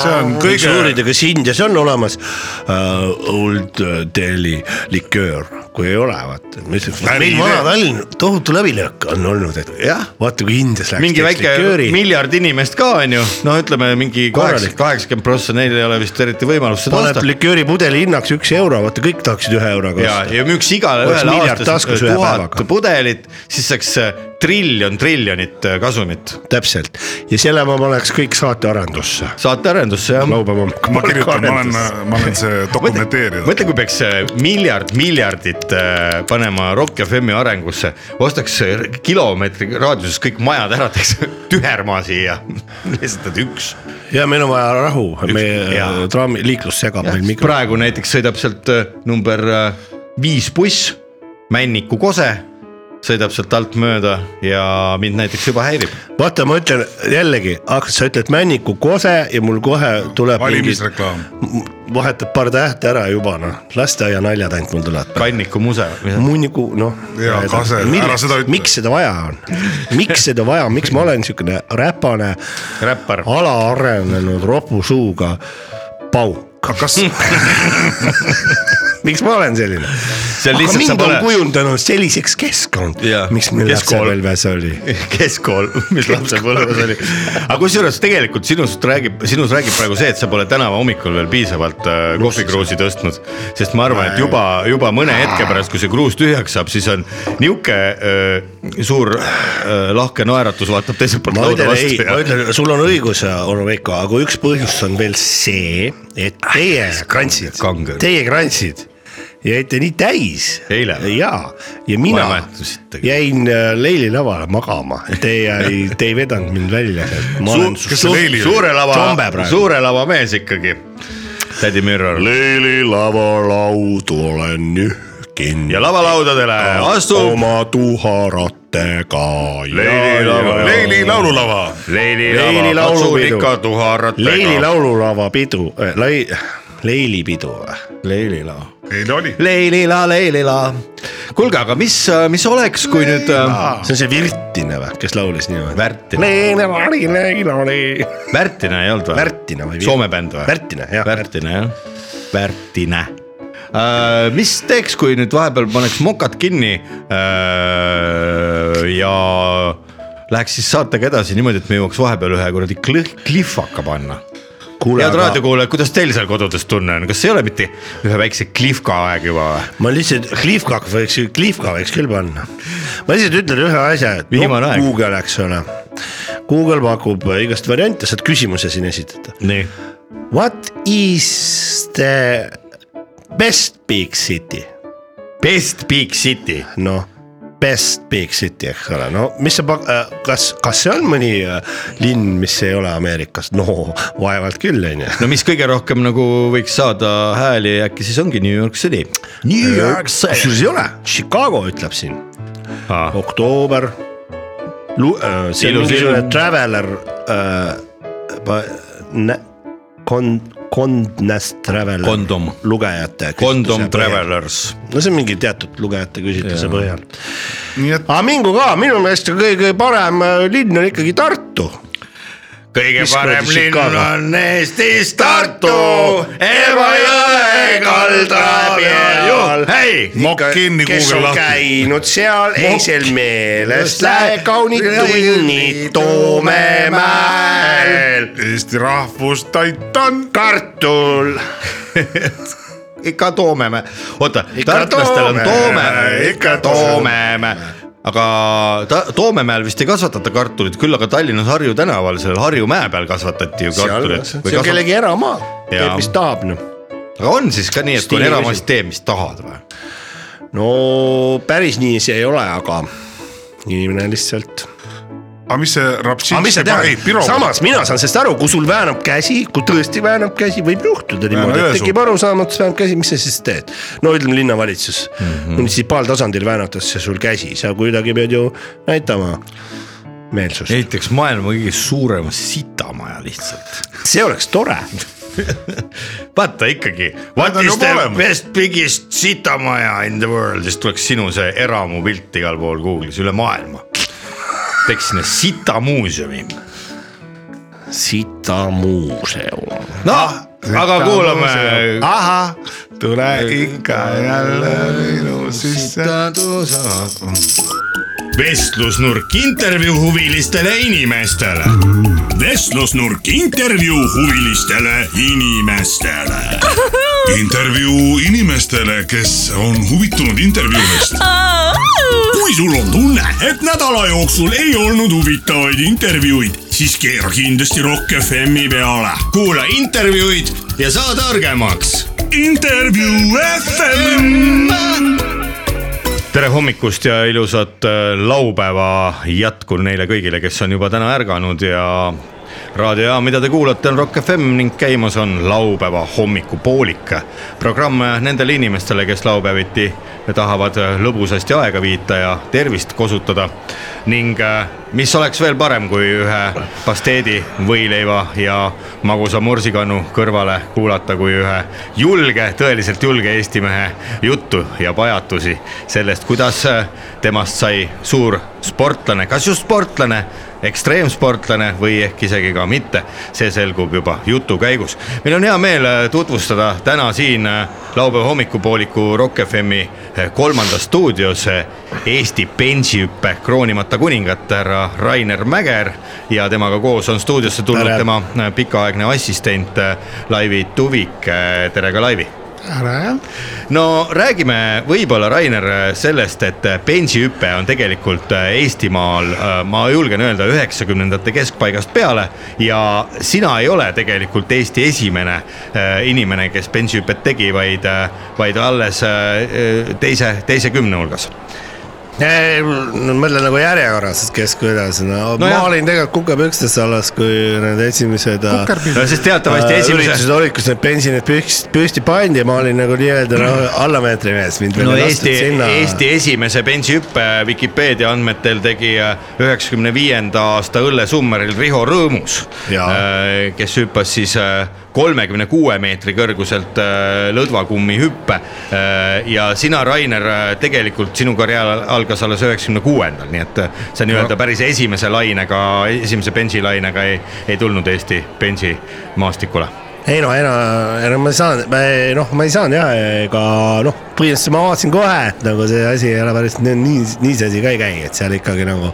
Speaker 2: see on
Speaker 3: võiks
Speaker 2: kõige ,
Speaker 3: uurida , kas Indias on on olemas uh, Old Delhi liköör , kui ei ole , vaata . meil
Speaker 2: Läbilöök.
Speaker 3: Vana-Tallinn , tohutu läbilöök on olnud , et
Speaker 1: Jah.
Speaker 3: vaata kui Indias läks .
Speaker 1: mingi väike likööri. . miljard inimest ka on ju , no ütleme mingi
Speaker 3: Korralik.
Speaker 1: kaheksakümmend prossa , neil ei ole vist eriti võimalust seda
Speaker 3: paneb
Speaker 1: osta .
Speaker 3: likööripudeli hinnaks üks euro , vaata kõik tahaksid ühe euroga
Speaker 1: ja ,
Speaker 3: osta .
Speaker 1: ja müüks igale
Speaker 3: Oleks
Speaker 1: ühele
Speaker 3: miljard
Speaker 1: aastas äh,
Speaker 3: taskus ühe
Speaker 1: tuhat
Speaker 3: päevaga.
Speaker 1: pudelit , siis saaks äh, triljon triljonit äh, kasumit
Speaker 3: täpselt ja selle ma paneks kõik saatearendusse .
Speaker 1: saatearendusse jah .
Speaker 3: laupäeva .
Speaker 2: ma kirjutan , ma olen , äh, ma olen see dokumenteerija .
Speaker 1: mõtle , kui peaks äh, miljard miljardit äh, panema Rock FM-i arengusse , ostaks äh, kilomeetri raadiuses kõik majad ära , teeks tühermaa siia , lihtsalt üks .
Speaker 3: ja meil on vaja rahu , meie
Speaker 1: jaa.
Speaker 3: traami , liiklus segab meil mikro .
Speaker 1: praegu näiteks sõidab sealt äh, number äh, viis buss , Männiku Kose sõidab sealt alt mööda ja mind näiteks juba häirib .
Speaker 3: vaata , ma ütlen jällegi , sa ütled Männiku kose ja mul kohe tuleb .
Speaker 2: valimisreklaam .
Speaker 3: vahetab paar tähte ära juba noh , lasteaianaljad ainult mul tulevad .
Speaker 1: Kanniku muse .
Speaker 3: Munniku noh .
Speaker 2: Jaa, Kase, ära seda ütle.
Speaker 3: miks seda vaja on , miks seda vaja , miks ma olen niisugune räpane ,
Speaker 1: räppar ,
Speaker 3: alaarenenud ropusuuga pauk ,
Speaker 2: aga kas ,
Speaker 3: miks ma olen selline ?
Speaker 1: See on
Speaker 3: aga
Speaker 1: lihtsalt- sa
Speaker 3: mind
Speaker 1: pole-
Speaker 3: on kujundanud selliseks keskkond
Speaker 1: Jaa. ,
Speaker 3: miks meil
Speaker 1: Keskkool.
Speaker 3: lapsepõlves oli .
Speaker 1: keskkool , mis lapsepõlves oli . aga kusjuures tegelikult sinust räägib , sinus räägib praegu see , et sa pole tänavu hommikul veel piisavalt äh, kohvikruusi tõstnud , sest ma arvan , et juba , juba mõne hetke pärast , kui see kruus tühjaks saab , siis on niuke äh, suur äh, lahke naeratus vaatab teiselt poolt
Speaker 3: ma
Speaker 1: lauda
Speaker 3: ütlen ei , ma
Speaker 1: vastu .
Speaker 3: ütlen , sul on õigus , onu Veiko , aga üks põhjus on veel see , et teie krantsid
Speaker 1: kange. ,
Speaker 3: teie krantsid jäite nii täis .
Speaker 1: Eile.
Speaker 3: jaa ,
Speaker 1: Ma
Speaker 3: ja
Speaker 1: ei
Speaker 3: mina
Speaker 1: mäleta sittagi.
Speaker 3: jäin äh, leililavale magama , teie ei , te ei vedanud mind välja .
Speaker 2: kes see leili oli?
Speaker 1: suure
Speaker 3: Tombe
Speaker 1: lava ,
Speaker 3: praegu.
Speaker 1: suure lava mees ikkagi , tädi Mirror
Speaker 3: leililava laudu olen nühkinud
Speaker 1: ja lavalaudadele astub
Speaker 3: oma tuharatega .
Speaker 1: Leililava.
Speaker 2: Leili laululava .
Speaker 1: Leili
Speaker 3: Leili
Speaker 1: lava ,
Speaker 3: laulupidu.
Speaker 1: katsun ikka tuharattega .
Speaker 3: Leili laululava pidu , lai- , leilipidu või ?
Speaker 1: leililava .
Speaker 2: Leili oli .
Speaker 1: leilila , leilila . kuulge , aga mis , mis oleks , kui nüüd äh,
Speaker 3: see on see Virtine või , kes laulis niimoodi ?
Speaker 1: Värtina ,
Speaker 3: Leene Mari , Leene Mari .
Speaker 1: Värtina ei olnud või ?
Speaker 3: Värtina või ?
Speaker 1: Soome bänd või ?
Speaker 3: Värtina , jah .
Speaker 1: Värtina jah , Värtina . Uh, mis teeks , kui nüüd vahepeal paneks mokad kinni uh, ja läheks siis saatega edasi niimoodi , et me jõuaks vahepeal ühe kuradi klõh- klihvaka panna . head raadiokuulajad , kuidas teil seal kodudes tunne on , kas ei ole mitte ühe väikse klihvka aeg juba või ?
Speaker 3: ma lihtsalt , Klivkak võiks , Klivka võiks küll panna . ma lihtsalt ütlen ühe asja , et noh,
Speaker 1: Viimane aeg.
Speaker 3: Google , eks ole . Google pakub äh, igast variante , saad küsimuse siin esitada .
Speaker 1: nii
Speaker 3: What is the best big city ?
Speaker 1: Best Big City .
Speaker 3: noh , best big city , eks ole , no mis sa , kas , kas see on mõni äh, linn , mis ei ole Ameerikas ? no vaevalt küll , on ju .
Speaker 1: no mis kõige rohkem nagu võiks saada hääli , äkki siis ongi New York City . New York City .
Speaker 3: kusjuures ei ole , Chicago ütleb siin ,
Speaker 1: Ah,
Speaker 3: oktoober . see on
Speaker 1: Ilus
Speaker 3: mingisugune
Speaker 1: linn.
Speaker 3: traveler äh, , kon- , kondnäst traveler .
Speaker 1: Kondom.
Speaker 3: lugejate .
Speaker 1: Condom . Travelers .
Speaker 3: no see on mingi teatud lugejate küsitluse põhjal .
Speaker 2: nii et
Speaker 3: aga mingu ka , minu meelest kõige parem äh, linn on ikkagi Tartu
Speaker 1: kõige
Speaker 3: Mis kuradi Chicago?
Speaker 1: Eestis hei .
Speaker 2: Mokk kinni,
Speaker 3: kes
Speaker 2: Google
Speaker 3: on
Speaker 2: lahti.
Speaker 3: käinud seal eilsel meelest , lähe kaunid tunnid Toomemäel ,
Speaker 2: Eesti rahvustaitan .
Speaker 3: kartul .
Speaker 1: ikka Toomemäe , oota ,
Speaker 3: Ikka
Speaker 1: tartlastel on Toomemäe ,
Speaker 3: Toomemäe,
Speaker 1: ikka
Speaker 3: ikka
Speaker 1: Toomemäe aga ta Toomemäel vist ei kasvatata kartulit , küll aga Tallinnas Harju tänaval , seal Harju mäe peal kasvatati ju kartulit .
Speaker 3: see on kellegi eramaa ,
Speaker 1: Jaa.
Speaker 3: teeb mis tahab noh .
Speaker 1: aga on siis ka nii , et kui on
Speaker 3: Stiili
Speaker 1: eramaast , tee mis tahad või ?
Speaker 3: no päris nii see ei ole , aga inimene lihtsalt .
Speaker 2: aga mis see rapsiin
Speaker 3: aga mis sa tead , samas mina saan sellest aru , kui sul väänab käsi , kui tõesti väänab käsi , võib juhtuda niimoodi , et
Speaker 2: ühesugune.
Speaker 3: tekib arusaamatus , väänab käsi , mis sa siis teed . no ütleme linnavalitsus mm -hmm. , munitsipaaltasandil väänatakse sul käsi , sa kuidagi pead ju näitama meelsust ,
Speaker 1: ehitaks maailma kõige suurema sitamaja lihtsalt .
Speaker 3: see oleks tore .
Speaker 1: vaata ikkagi , what
Speaker 2: Nad on
Speaker 1: is
Speaker 2: juba
Speaker 1: the
Speaker 2: olemas.
Speaker 1: best biggest sitamaja in the world , siis tuleks sinu see eramupilt igal pool Google'is üle maailma . teeks sinna sitamuuseumi .
Speaker 3: sita muuseum .
Speaker 1: noh , aga kuulame .
Speaker 2: ahah , Ah, tule ikka jälle minu sisse .
Speaker 4: vestlusnurk intervjuu huvilistele inimestele . vestlusnurk intervjuu huvilistele inimestele .
Speaker 5: intervjuu inimestele , kes on huvitunud intervjuudest .
Speaker 4: kui sul on tunne , et nädala jooksul ei olnud huvitavaid intervjuuid , siis keera kindlasti Rock FM-i peale .
Speaker 1: kuula intervjuud ja saa targemaks .
Speaker 4: intervjuu FM .
Speaker 1: tere hommikust ja ilusat äh, laupäeva jätku neile kõigile , kes on juba täna ärganud ja raadiojaam , mida te kuulate , on Rock FM ning käimas on laupäeva hommikupoolik . programm äh, nendele inimestele , kes laupäeviti tahavad äh, lõbusasti aega viita ja tervist kosutada ning äh, mis oleks veel parem , kui ühe pasteedi , võileiva ja magusa morsikannu kõrvale kuulata , kui ühe julge , tõeliselt julge Eesti mehe juttu ja pajatusi sellest , kuidas äh, temast sai suur sportlane , kas just sportlane , ekstreemsportlane või ehk isegi ka mitte , see selgub juba jutu käigus . meil on hea meel äh, tutvustada täna siin äh, laupäeva hommikupooliku Rock FM-i äh, kolmandas stuudios äh, Eesti bensihüppe kroonimata kuningat härra Rainer Mäger ja temaga koos on stuudiosse tulnud
Speaker 3: Tere.
Speaker 1: tema äh, pikaaegne assistent äh, Laivi Tuvik , tere ka Laivi no räägime võib-olla , Rainer , sellest , et bensihüpe on tegelikult äh, Eestimaal , ma julgen öelda , üheksakümnendate keskpaigast peale ja sina ei ole tegelikult Eesti esimene äh, inimene , kes bensihüpet tegi , vaid , vaid alles äh, teise , teise kümne hulgas .
Speaker 3: ei , no mõtle nagu järjekorras , et kes kuidas , no, no ma
Speaker 1: jah.
Speaker 3: olin tegelikult kukerpükstes alles , kui need esimesed .
Speaker 1: no sest teatavasti
Speaker 3: üritused
Speaker 1: esimese ,
Speaker 3: olid , kus need pensionid püks- , püsti pandi ja ma olin nagu nii-öelda no, alla meetri mees , mind veel
Speaker 1: no
Speaker 3: ei
Speaker 1: Eesti
Speaker 3: lastud , sinna .
Speaker 1: Eesti esimese bensihüppe Vikipeedia andmetel tegi äh, üheksakümne viienda aasta Õlle Summeril Riho Rõõmus äh,
Speaker 3: Jaa. ,
Speaker 1: kes hüppas siis äh, kolmekümne kuue meetri kõrguselt äh, lõdvakummi hüppe . ja sina , Rainer , tegelikult sinu karjäär algas alles üheksakümne kuuendal , nii et äh, sa nii-öelda päris esimese lainega , esimese bensilainega ei , ei tulnud Eesti bensimaastikule .
Speaker 3: ei noh , ei no , ei no ma ei saanud , noh , ma ei saanud jah , ega noh , põhimõtteliselt ma vaatasin kohe , et nagu see asi ei ole päris nii , nii see asi ka ei käi , et seal ikkagi nagu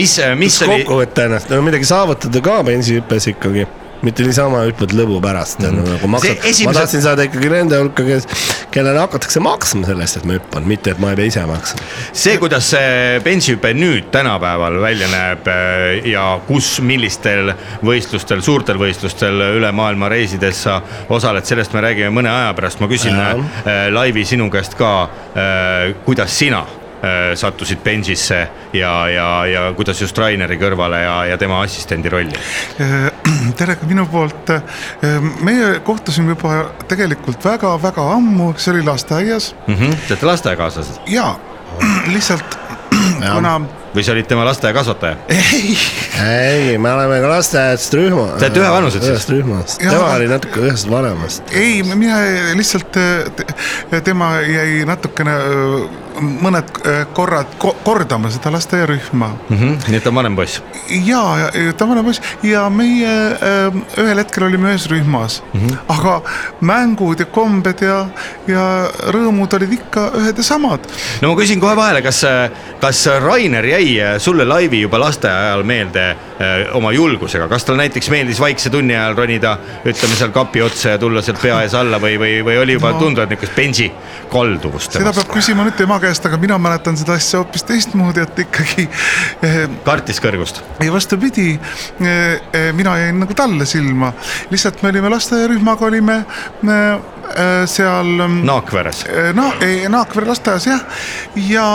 Speaker 1: mis , mis
Speaker 3: Mis
Speaker 1: oli ,
Speaker 3: kokku võtta ennast , no midagi saavutada ka bensihüppes ikkagi , mitte niisama hüppad lõbu pärast mm , -hmm. nagu maksad ,
Speaker 1: esimese-
Speaker 3: esimese... ma tahtsin saada ikkagi nende hulka , kes , kellele hakatakse maksma selle eest , et ma hüppan , mitte et ma ei pea ise maksma .
Speaker 1: see , kuidas see bensihüpe nüüd tänapäeval välja näeb äh, ja kus , millistel võistlustel , suurtel võistlustel üle maailma reisides sa osaled , sellest me räägime mõne aja pärast , ma küsin
Speaker 3: Jaa.
Speaker 1: äh, Laivi sinu käest ka , kuidas sina äh, sattusid bensisse ja , ja , ja kuidas just Raineri kõrvale ja , ja tema assistendi rolli ?
Speaker 2: tere ka minu poolt . meie kohtusime juba tegelikult väga-väga ammu , see oli lasteaias
Speaker 1: Te olete lasteakaaslased
Speaker 2: ja lihtsalt kuna
Speaker 1: või sa olid tema lasteaiakasvataja ?
Speaker 3: ei , me oleme ka lasteaiast rühma .
Speaker 1: Te olete ühevanused siis?
Speaker 3: ühest rühmast ,
Speaker 2: Jaa.
Speaker 3: tema oli natuke ühest vanemast .
Speaker 2: ei , mina lihtsalt , tema jäi natukene öö, mõned öö, korrad ko- kordama seda lasteaiarühma
Speaker 1: nii et ta on vanem poiss .
Speaker 2: ja , ja ta vanem poiss ja meie äh, ühel hetkel olime ühes rühmas mm , -hmm. aga mängud ja kombed ja , ja rõõmud olid ikka ühed ja samad .
Speaker 1: no ma küsin kohe vahele , kas , kas äh, Rainer jäi sulle laivi juba lasteaial meelde öö, oma julgusega , kas talle näiteks meeldis vaikse tunni ajal ronida , ütleme seal kapi otsa ja tulla sealt pea ees alla või , või , või oli juba no. tunda niisugust bensi kalduvust
Speaker 2: seda
Speaker 1: temast
Speaker 2: peab ? küsima nüüd tema käest , aga mina mäletan seda asja hoopis teistmoodi , et ikkagi äh,
Speaker 1: kartis kõrgust .
Speaker 2: ei vastupidi äh, , äh, mina jäin nagu talle silma , lihtsalt me olime lasteaiarühmaga olime äh, äh, seal no.
Speaker 1: Naakveres .
Speaker 2: no ei , Naakvere lasteaias jah , ja .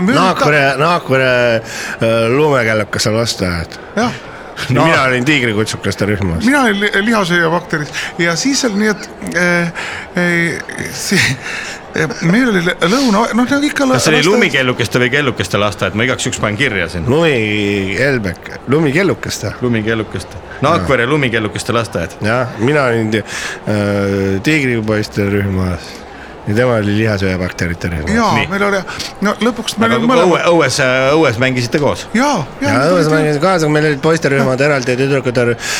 Speaker 3: Naakvere , Naakvere äh, lumekellukas on lasteaed .
Speaker 2: jah
Speaker 3: No. mina olin tiigrikutsukaste rühmas .
Speaker 2: mina olin li- lihasööja bakteris ja siis oli nii , et äh, äh, see, äh, meil oli lõ- lõuna , noh nagu ikka .
Speaker 1: kas see oli ? lumikellukeste või kellukeste lasteaed , ma igaks juhuks panen kirja siin .
Speaker 3: lumi Helbek , lumi kellukas ta
Speaker 1: lumikellukeste , Naakvere lumikellukeste lasteaed .
Speaker 3: jah , mina olin ti- äh, tiigripoiste rühmas . ja temal oli lihasööbakterite rühm .
Speaker 2: ja meil oli , no lõpuks me
Speaker 1: aga
Speaker 2: olime
Speaker 1: kui õue
Speaker 2: mõlemad ,,
Speaker 1: õues , õues mängisite koos ?
Speaker 2: ja ,
Speaker 3: ja
Speaker 2: ja .
Speaker 3: õues mängis kaasa , meil olid poisterühmad eraldi ja tüdrukute rüh-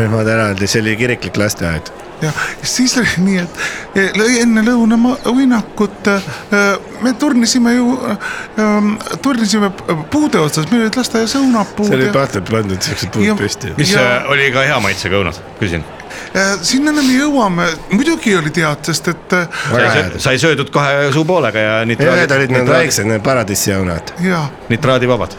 Speaker 3: rühmad eraldi , see oli kiriklik lasteaed .
Speaker 2: ja siis oli nii , et eh, lõi enne lõunauinakut eh, me turnisime ju , turnisime p- puude otsas , meil olid lasteaias õunapuud
Speaker 3: seal olid
Speaker 2: ja
Speaker 3: pahtad pandud siuksed puud
Speaker 2: Ja-
Speaker 3: püsti .
Speaker 1: mis
Speaker 2: Jaa.
Speaker 1: äh, oli ka hea maitsega õunad , küsin .
Speaker 2: eh, sinna enam ei jõuame , muidugi oli tead , sest et eh,
Speaker 3: Väga
Speaker 1: sai
Speaker 3: head. ,
Speaker 1: sai söödud kahe suupoolega ja
Speaker 3: ühed
Speaker 1: nitraadi ,
Speaker 3: olid need väiksed , need paradiisjaunad .
Speaker 2: ja
Speaker 1: nitraadivabad .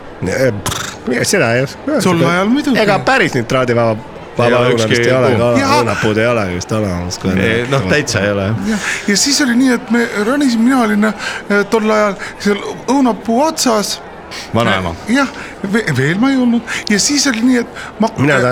Speaker 3: seda ei oska .
Speaker 2: Tol ajal muidugi.
Speaker 3: ega päris nitraadivaba , vaba
Speaker 1: ole
Speaker 3: õuna
Speaker 1: ükski
Speaker 3: vist ei ole ,
Speaker 2: Jaa.
Speaker 3: õunapuud ei ole vist olemas .
Speaker 1: noh , täitsa ei ole jah .
Speaker 2: ja , ja siis oli nii , et me ronisime , mina olin eh, tol ajal seal õunapuu otsas .
Speaker 1: vanaema .
Speaker 2: jah , veel ma ei olnud ja siis oli nii , et ma . äh,
Speaker 3: mina ta ,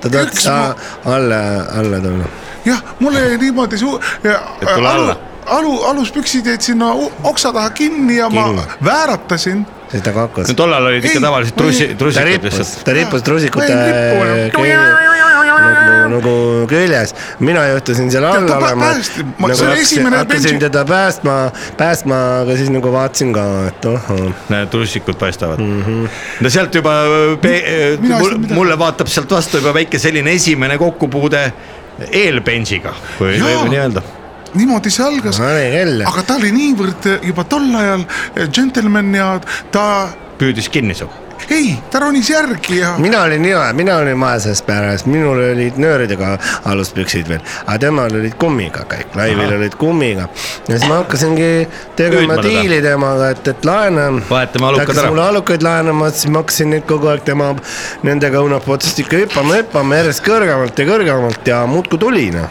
Speaker 3: ta
Speaker 2: Üks
Speaker 3: tahtis
Speaker 2: ma-
Speaker 3: alla , alla tulla .
Speaker 2: jah , mul jäi niimoodi suu- .
Speaker 1: Et tule alla.
Speaker 2: alu , aluspüksid jäid sinna u- oksa taha kinni ja ma
Speaker 3: Kinni.
Speaker 2: vääratasin .
Speaker 3: siis ta kakkus
Speaker 1: no . tollal olid ikka
Speaker 2: Ei,
Speaker 1: tavalised
Speaker 2: ma ei-
Speaker 1: trussi ,
Speaker 3: ta
Speaker 1: trussikud
Speaker 3: rippus
Speaker 1: lihtsalt ,.
Speaker 3: ta rippus trusikute
Speaker 2: Ma olin lipu-
Speaker 3: külje- eh, nagu , nagu küljes . mina juhtusin seal all
Speaker 2: ta pä-
Speaker 3: olema .
Speaker 2: päästi- ma- see oli esimene
Speaker 3: hakkasin
Speaker 2: Benji-
Speaker 3: teda päästma , päästma , aga siis nagu vaatasin ka , et ohoo .
Speaker 1: Näed , trussikud paistavad mm . -hmm. no sealt juba eh, pe- ,
Speaker 2: Mina ei saanud midagi.
Speaker 1: mulle vaatab sealt vastu juba väike selline esimene kokkupuude eelbensiga , kui
Speaker 2: Jaa.
Speaker 1: võib nii öelda .
Speaker 2: niimoodi see algas ,
Speaker 3: pane kella .
Speaker 2: aga ta oli niivõrd äh, juba tol ajal džentelmen ja ta ,
Speaker 1: püüdis kinni su .
Speaker 2: ei , ta ronis järgi ja
Speaker 3: mina olin jõe , mina olin vaeses peres , minul olid nööridega aluspüksid veel , aga temal olid kummiga kõik , Laivil olid kummiga . ja siis ma hakkasingi
Speaker 1: Püüdma
Speaker 3: tegema
Speaker 1: teda.
Speaker 3: diili temaga , et , et laena .
Speaker 1: Vahetame alukad ära.
Speaker 3: mulle alukaid laenama , siis ma hakkasin neid kogu aeg tema , nendega õunapuu otsast ikka hüppama , hüppama järjest kõrgemalt ja kõrgemalt ja muudkui tuli noh .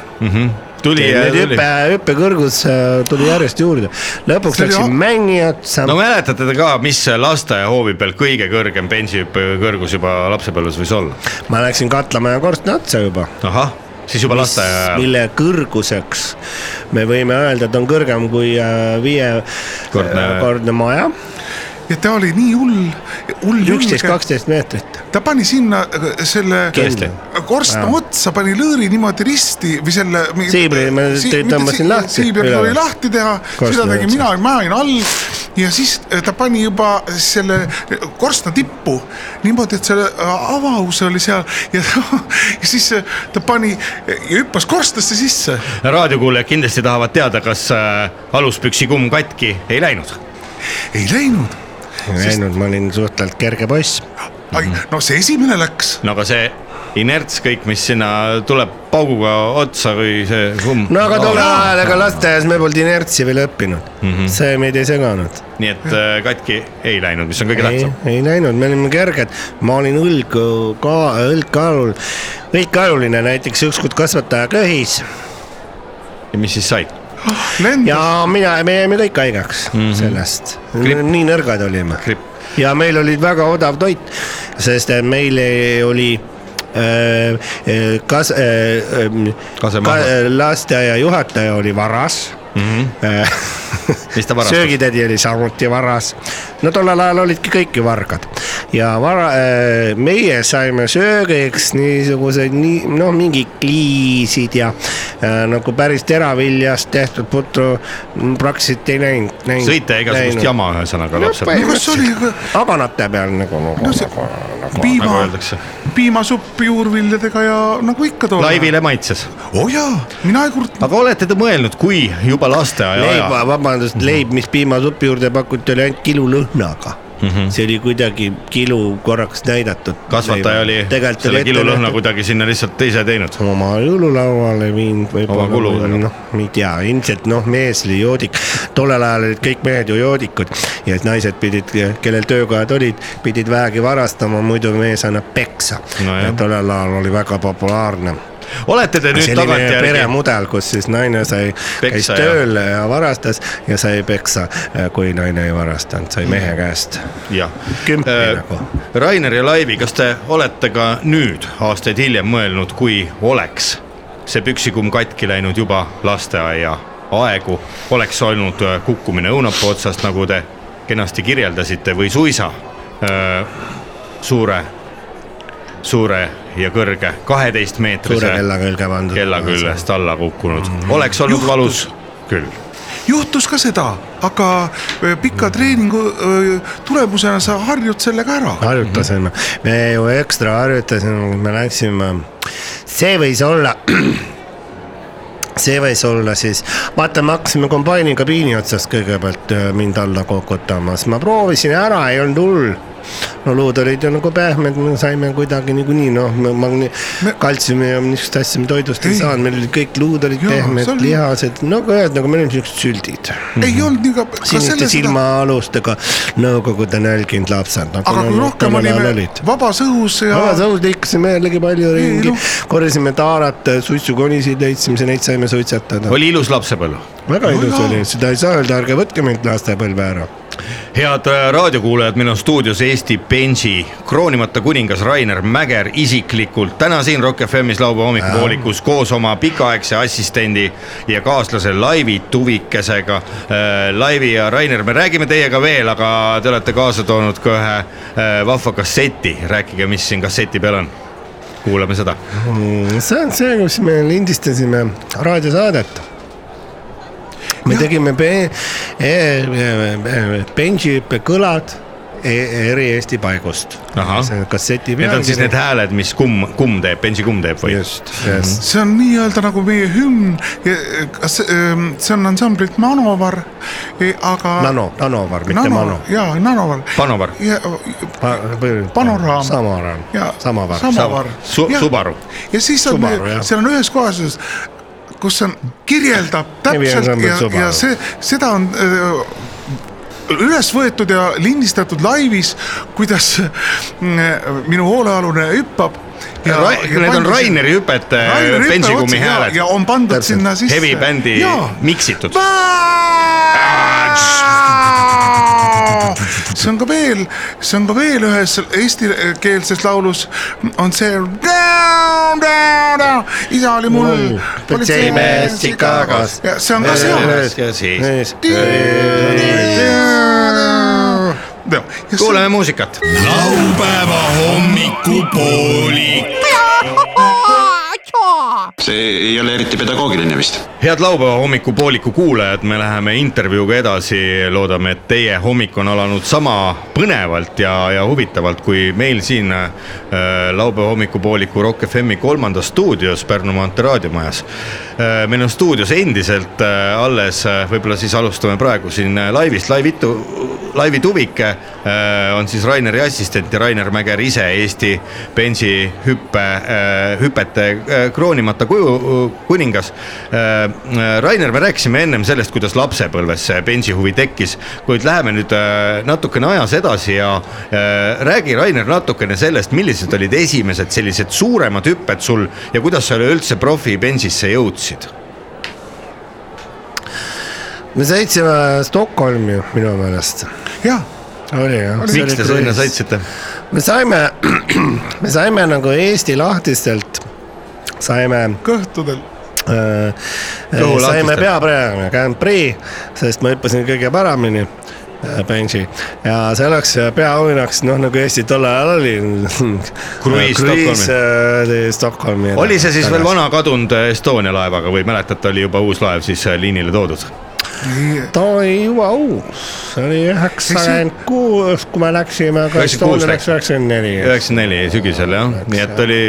Speaker 1: tuli ja
Speaker 3: nüüd
Speaker 1: tuli
Speaker 3: hüpe , hüppekõrgus äh, tuli järjest juurde . lõpuks
Speaker 2: See oli
Speaker 3: läksin
Speaker 2: a-
Speaker 3: mängijaks .
Speaker 1: no mäletate te ka , mis lasteaia hoovi peal kõige kõrgem bensihüppe kõrgus juba lapsepõlves võis olla ?
Speaker 3: ma läksin katlamaja korstna otsa juba
Speaker 1: ahah , siis juba lasteaia ajal .
Speaker 3: mille kõrguseks me võime öelda , et on kõrgem kui äh,
Speaker 1: Kordne-
Speaker 3: viiekordne maja ,
Speaker 2: ja ta oli nii hull , hull
Speaker 3: üksteist , kaksteist meetrit .
Speaker 2: ta pani sinna äh, selle
Speaker 1: Tõesti?
Speaker 2: korstna
Speaker 3: Jaa.
Speaker 2: otsa , pani lõõri niimoodi risti või selle .
Speaker 3: Siibri ma tõmbasin lahti
Speaker 2: siibri
Speaker 3: üleval.
Speaker 2: tuli lahti teha , seda
Speaker 3: Korstna
Speaker 2: tegin
Speaker 3: otsa.
Speaker 2: mina , ma olin all ja siis äh, ta pani juba selle korstna tippu niimoodi , et selle äh, avavus oli seal ja, ja siis äh, ta pani ja hüppas korstnasse sisse .
Speaker 1: raadiokuulajad kindlasti tahavad teada , kas äh, aluspüksi kumm katki ei läinud .
Speaker 2: ei läinud ,
Speaker 3: läinud ma olin suhteliselt kerge poiss .
Speaker 2: no see esimene läks ,
Speaker 1: no aga see inerts kõik , mis sinna tuleb pauguga otsa või see kumm .
Speaker 3: no aga tol ajal , ega lasteaias me polnud inertsi veel õppinud mm ,
Speaker 1: Mhm.
Speaker 3: -hmm. see meid ei seganud .
Speaker 1: nii et äh, katki ei läinud , mis on kõige
Speaker 3: ei
Speaker 1: tähtsam .,
Speaker 3: ei läinud , me olime kerged , ma olin õlg , õlgkaalul , õlgkaaluline näiteks ükskord kasvataja köhis
Speaker 1: ja mis siis sai ?
Speaker 2: lendas .
Speaker 3: ja mina , me jäime kõik haigeks
Speaker 1: Mhm.
Speaker 3: mm -hmm. sellest , nii nõrgad olime
Speaker 1: Gripp. .
Speaker 3: ja meil oli väga odav toit , sest et meil ei- oli öö, öö, kas , äh,
Speaker 1: Kasemaha.
Speaker 3: lasteaia juhataja oli varas mm . -hmm.
Speaker 1: mis ta varastas ?
Speaker 3: söögitädi oli samuti varas . no tollel ajal olidki kõik ju vargad ja vara , meie saime söögiks niisuguseid nii , noh , mingi kliisid ja äh, nagu päris teraviljast tehtud putru m, praktiliselt ei näinud .
Speaker 1: sõite igasugust . jama , ühesõnaga Nagu lapsel .
Speaker 2: no kas see oli ,
Speaker 3: aganate peal nagu , nagu ,
Speaker 2: see-
Speaker 3: nagu , nagu .
Speaker 1: nagu
Speaker 2: piima ,
Speaker 1: öeldakse ,
Speaker 2: piimasupp juurviljadega ja nagu ikka tol
Speaker 1: laivile maitses .
Speaker 2: oo oh jaa , mina ei kurtnud .
Speaker 1: aga olete te mõelnud , kui juba lasteaia
Speaker 3: leib ,
Speaker 1: aja ,
Speaker 3: vabandust , leib , mis piimasupi juurde pakuti , oli ainult kilulõhnaga mm . -hmm. see oli kuidagi kilu korraks näidatud .
Speaker 1: kasvataja oli selle kilulõhna . kuidagi sinna lihtsalt ise teinud .
Speaker 3: oma jõululauale viinud võib-olla .
Speaker 1: kuludega.
Speaker 3: noh , ma ei tea , ilmselt noh , mees oli joodik , tollel ajal olid kõik mehed ju joodikud ja et naised pidid , kellel töökohad olid , pidid vähegi varastama , muidu mees annab peksa
Speaker 1: No
Speaker 3: no .
Speaker 1: jah.
Speaker 3: tollel ajal oli väga populaarne
Speaker 1: olete te nüüd
Speaker 3: selline
Speaker 1: tagantjärgi ,
Speaker 3: peremudel , kus siis naine sai , käis
Speaker 1: Peksa ja-
Speaker 3: tööl ja varastas ja sai peksa , kui naine ei varastanud ,
Speaker 1: Mhm.
Speaker 3: sai mehe käest .
Speaker 1: jah
Speaker 3: kümpi
Speaker 1: Äh,
Speaker 3: nagu.
Speaker 1: Rainer ja Laivi , kas te olete ka nüüd aastaid hiljem mõelnud , kui oleks see püksikumm katki läinud juba lasteaia aegu , oleks olnud äh, kukkumine õunapuu otsast , nagu te kenasti kirjeldasite või suisa äh, suure , suure ja kõrge kaheteist
Speaker 3: suure
Speaker 1: meetrise
Speaker 3: kella külge pandud .
Speaker 1: kella küljest alla kukkunud , oleks olnud valus küll .
Speaker 2: juhtus ka seda , aga öö,
Speaker 3: Mm.
Speaker 2: pika treeningu öö, tulemusena sa harjud sellega ära .
Speaker 3: Ah, harjutasime , me ju ekstra harjutasime , kui me läksime . see võis olla , see võis olla siis , vaata , me hakkasime kombaini kabiini otsast kõigepealt öö, mind alla kokutama , siis ma proovisin ära , ei olnud hull no luud olid ju nagu pehmed , me saime kuidagi niikuinii noh , magne- , kaltsiumi ja niisugust asja me toidust ei
Speaker 2: Ei.
Speaker 3: saanud , meil olid kõik luud olid
Speaker 2: Jaa,
Speaker 3: pehmed
Speaker 2: see , oli-
Speaker 3: lihased , no ühesõnaga me olime niisugused süldid
Speaker 2: ei olnud nii ka , ka
Speaker 3: mhm. siniste
Speaker 2: selle seda ,
Speaker 3: silmaalustega nõukogude nälginud lapsed .
Speaker 2: aga kui rohkem olime vabas õhus ja
Speaker 3: vabas õhus liikusime jällegi palju ringi
Speaker 2: noh. ,
Speaker 3: korjasime taarat , suitsukonisid leidsime , neid saime suitsetada .
Speaker 1: oli ilus lapsepõlv .
Speaker 3: väga
Speaker 2: No
Speaker 3: ilus
Speaker 2: jaa.
Speaker 3: oli , seda ei saa öelda , ärge võtke mind lastepõlve ära .
Speaker 1: head äh, raadiokuulajad , meil on stuudios Eesti Benji kroonimata kuningas Rainer Mäger isiklikult täna siin Rock FM-is laupäeva hommikupoolikus koos oma pikaaegse assistendi ja kaaslase Laivi Tuvikesega . Laivi ja Rainer , me räägime teiega veel , aga te olete kaasa toonud ka ühe äh, vahva kasseti , rääkige , mis siin kasseti peal on . kuulame seda .
Speaker 3: see on see , kus me lindistasime raadiosaadet . me
Speaker 2: Jah.
Speaker 3: tegime pe- , e- Benji e- kõlad e- eri Eesti paigust .
Speaker 1: Ahah.
Speaker 3: see kasseti peal .
Speaker 1: Need on siis need hääled , mis kumm , kumm teeb , Benji kumm teeb või ?
Speaker 3: just , just .
Speaker 2: see on nii-öelda nagu meie hümn , kas ähm, see on ansamblit Manovar , aga .
Speaker 1: Mhm.
Speaker 3: Nano , Nanovar , mitte Mano .
Speaker 2: jaa , Nanovar .
Speaker 1: Panovar.
Speaker 2: ja , Panoraam.
Speaker 3: Samaraam
Speaker 2: ja .
Speaker 3: Samavar .
Speaker 2: Samavar .
Speaker 1: Su- Subaru .
Speaker 2: ja siis on
Speaker 3: Subaru, , jah.
Speaker 2: seal on ühes kohas , kus on , kirjeldab täpselt
Speaker 3: Nimiansambel
Speaker 2: ja , ja
Speaker 3: Subaru.
Speaker 2: see , seda on öö, üles võetud ja lindistatud laivis , kuidas mm, minu hoolealune hüppab .
Speaker 1: Need on Raineri hüpet , Benji kummi hääled
Speaker 2: ja . on pandud
Speaker 3: Täpselt.
Speaker 2: sinna sisse .
Speaker 1: Heavy bändi miksitud.
Speaker 2: see on ka veel , see on ka veel ühes eestikeelses laulus on see . isa oli mul
Speaker 3: Mm. . politseimees Chicagos.
Speaker 2: ja see on ka seal .
Speaker 1: kuulame muusikat .
Speaker 4: laupäeva hommikupoolik .
Speaker 6: see ei ole eriti pedagoogiline vist .
Speaker 1: head laupäeva hommikupooliku kuulajad , me läheme intervjuuga edasi , loodame , et teie hommik on alanud sama põnevalt ja , ja huvitavalt , kui meil siin äh, laupäeva hommikupooliku Rock FM-i kolmandas stuudios Pärnu maantee raadiomajas äh, . meil on stuudios endiselt äh, alles , võib-olla siis alustame praegu siin äh, laivist , laivitu , Laivi Tuvike äh, on siis Raineri assistent ja Rainer Mäger ise Eesti bensi hüppe , hüpete äh, kroonimata kuju , kuningas . Rainer , me rääkisime ennem sellest , kuidas lapsepõlves see bensi huvi tekkis , kuid läheme nüüd äh, natukene ajas edasi ja äh, räägi , Rainer , natukene sellest , millised olid esimesed sellised suuremad hüpped sul ja kuidas sa üleüldse profi bensisse jõudsid ?
Speaker 3: me sõitsime Stockholmi minu meelest .
Speaker 2: jah ,
Speaker 3: oli jah .
Speaker 1: miks te sinna ? sõitsite ?
Speaker 3: me saime , me saime nagu Eesti lahtistelt , saime
Speaker 2: kõhtudel .
Speaker 3: Äh,
Speaker 1: Kõhu
Speaker 3: saime
Speaker 1: lahtistel.
Speaker 3: peapreemia Grand Prix , sest ma hüppasin kõige paremini . Benji ja selleks peaauhinnaks , noh nagu Eesti tol ajal oli .
Speaker 1: Kruiis Stockholmi.
Speaker 3: Stockholmi . Stockholmi .
Speaker 1: oli see siis veel ? vana kadunud Estonia laevaga või mäletate , oli juba uus laev siis äh, liinile toodud ?
Speaker 3: ta oli juba uus , see oli üheksakümmend kuus , kui me läksime , aga
Speaker 1: 96
Speaker 3: Estonia
Speaker 1: läks.
Speaker 3: läks üheksakümmend neli .
Speaker 1: üheksakümmend neli sügisel jah , nii et oli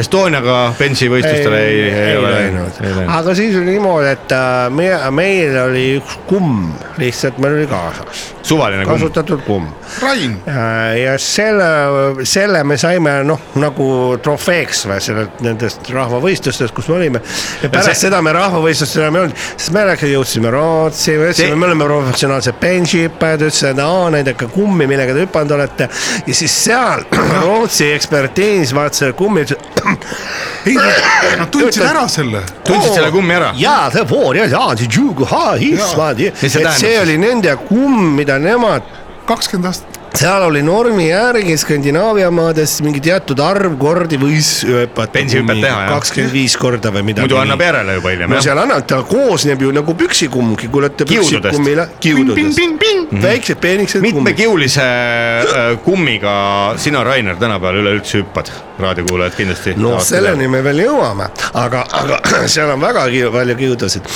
Speaker 1: Estoniaga bensivõistlustele ei , ei ole läinud .
Speaker 3: aga siis oli niimoodi , et äh, me , meil oli üks kumm , lihtsalt meil oli kaasas ,
Speaker 1: suvaline kumm ,
Speaker 3: kasutatud kumm
Speaker 2: Rain ,
Speaker 3: Äh, ja selle , selle me saime noh , nagu trofeeks või sellelt nendest rahvavõistlustest , kus me olime . ja
Speaker 1: see-
Speaker 3: pärast see... seda me rahvavõistlustel enam ei olnud , sest me läksime , jõudsime Rootsi , me ütlesime
Speaker 1: See-
Speaker 3: see... , me oleme professionaalsed benchhüppajad , ütlesid , et aa , näidake kummi , millega te hüpanud olete . ja siis seal Rootsi ekspertiis vaatas selle kummi , ütles
Speaker 2: ei , nad tundsid ära selle .
Speaker 1: tundsid selle kummi ära ?
Speaker 3: Oh! jaa , see foor ja , ja ,
Speaker 1: Mis see
Speaker 3: see ,
Speaker 1: tähendab
Speaker 3: see
Speaker 1: siis?
Speaker 3: oli nende kumm , mida nemad
Speaker 2: kakskümmend aastat ,
Speaker 3: seal oli normi järgi Skandinaavia maades mingi teatud arv kordi võis hüpata .
Speaker 1: Bensihüpet teha, jah.
Speaker 3: kakskümmend viis korda või midagi .
Speaker 1: muidu annab . järele juba hiljem
Speaker 3: no
Speaker 1: jah ?
Speaker 3: seal annab , ta koosneb ju nagu püksikummgi , kui olete
Speaker 1: Kiududest. Mhm.
Speaker 3: püksikummile . kiududest . väiksed peenikesed .
Speaker 1: mitmekiulise äh, kummiga sina , Rainer , tänapäeval üleüldse hüppad ? raadiokuulajad kindlasti .
Speaker 3: no Noh, selleni me veel jõuame , aga , aga seal on väga kiu- palju kiudusid .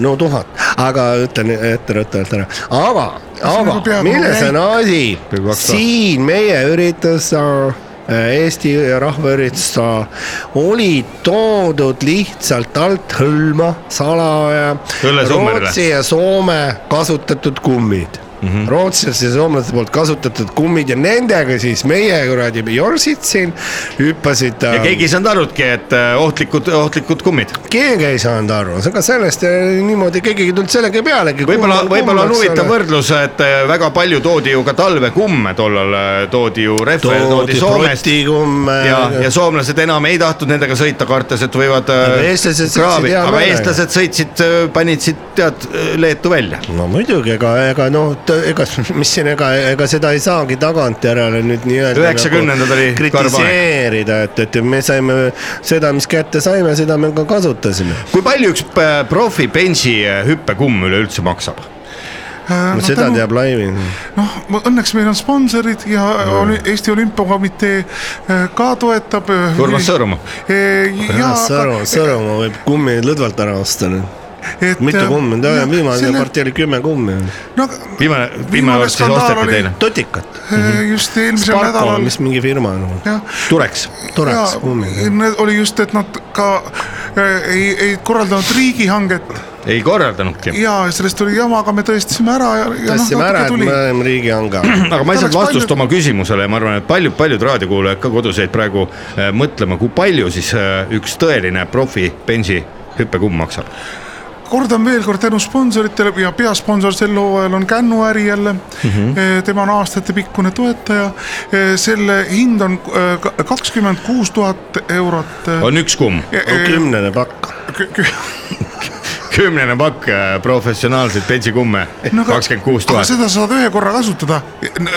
Speaker 3: no tuhat , aga ütlen etteruttavalt ära , aga ,
Speaker 2: nagu
Speaker 3: aga
Speaker 2: peab
Speaker 3: milles on
Speaker 2: nagu
Speaker 3: asi
Speaker 1: Peab kaks aastat.
Speaker 3: siin meie üritus , Eesti rahvaüritus äh, oli toodud lihtsalt alt hõlma salaja
Speaker 1: Õllesummerile.
Speaker 3: Rootsi ja Soome kasutatud kummid mm
Speaker 1: Mhm.
Speaker 3: -hmm. . rootslaste ja soomlaste poolt kasutatud kummid ja nendega siis meie kuradi jorsid siin hüppasid . äh,
Speaker 1: ja keegi ei saanud arvutki , et äh, ohtlikud , ohtlikud kummid .
Speaker 3: keegi ei saanud aru , ega sellest eh, niimoodi keegi ei tulnud sellegi pealegi .
Speaker 1: võib-olla , võib-olla on huvitav . võrdlus , et äh, väga palju toodi ju ka talvekumme tollal , toodi ju rehve ,
Speaker 3: toodi äh,
Speaker 1: toodi Soomest
Speaker 3: protikumme
Speaker 1: ja , ja soomlased enam ei tahtnud nendega sõita , kartes , et võivad äh,
Speaker 3: Aga eestlased sõitsid
Speaker 1: kraavi ,
Speaker 3: hea
Speaker 1: aga
Speaker 3: meelega.
Speaker 1: eestlased sõitsid , panid siit tead äh, Leetu välja .
Speaker 3: no muidugi , ega , ega noh , ega mis siin , ega , ega seda ei saagi tagantjärele nüüd nii-öelda .
Speaker 1: Üheksakümnendad oli
Speaker 3: kritiseerida , et , et me saime seda , mis kätte saime , seda me ka kasutasime .
Speaker 1: kui palju üks p- profi bensi äh, hüppekumm üleüldse maksab ?
Speaker 2: Äh,
Speaker 3: no seda teab Laivi .
Speaker 2: noh , õnneks meil on sponsorid ja oli Eesti Olümpiakomitee eh, ka toetab .
Speaker 1: Urmas Sõõrumaa. .
Speaker 3: Ah,
Speaker 2: jaa ,
Speaker 3: Sõru , Sõrumaa võib kummi lõdvalt ära osta nüüd .
Speaker 2: et .
Speaker 3: mitu kummi , viimane partii oli kümme kummi .
Speaker 2: no
Speaker 1: viimane , viimane
Speaker 2: Viimane
Speaker 1: kord siis
Speaker 2: skandaal
Speaker 1: osteti
Speaker 2: oli-
Speaker 1: teile .
Speaker 3: totikat .
Speaker 2: eh, just eelmisel
Speaker 3: Sparko ,
Speaker 2: nädalal ,
Speaker 3: mis mingi firma on .
Speaker 2: jah
Speaker 1: tuleks .
Speaker 3: toreks kummid .
Speaker 2: ja, . oli just , et nad ka äh, ei , ei korraldanud riigihanget
Speaker 1: ei korraldanudki .
Speaker 2: ja sellest oli jama , aga me tõestasime ära ja, ja noh ,
Speaker 3: tõstsime ära ,
Speaker 2: natuke
Speaker 3: et
Speaker 2: tuli
Speaker 3: me . oleme riigihanga .
Speaker 1: aga ma ei saanud
Speaker 2: Tuleks
Speaker 1: vastust
Speaker 2: palju-
Speaker 1: oma küsimusele ja ma arvan , et paljud-paljud raadiokuulajad ka kodus jäid praegu äh, mõtlema , kui palju siis äh, üks tõeline profi bensi hüppekumm maksab .
Speaker 2: kordan veel kord tänu sponsoritele ja peasponsor sel hooajal on Kännu äri jälle mm .
Speaker 1: Mhm.
Speaker 2: -hmm. tema on aastatepikkune toetaja . selle hind on eh, kakskümmend kuus tuhat eurot . eh,
Speaker 1: on üks kumm ,
Speaker 3: kümnene pakk .
Speaker 1: kümnene pakk äh, professionaalseid bensikumme , kakskümmend kuus tuhat .
Speaker 2: seda saad ühe korra kasutada ,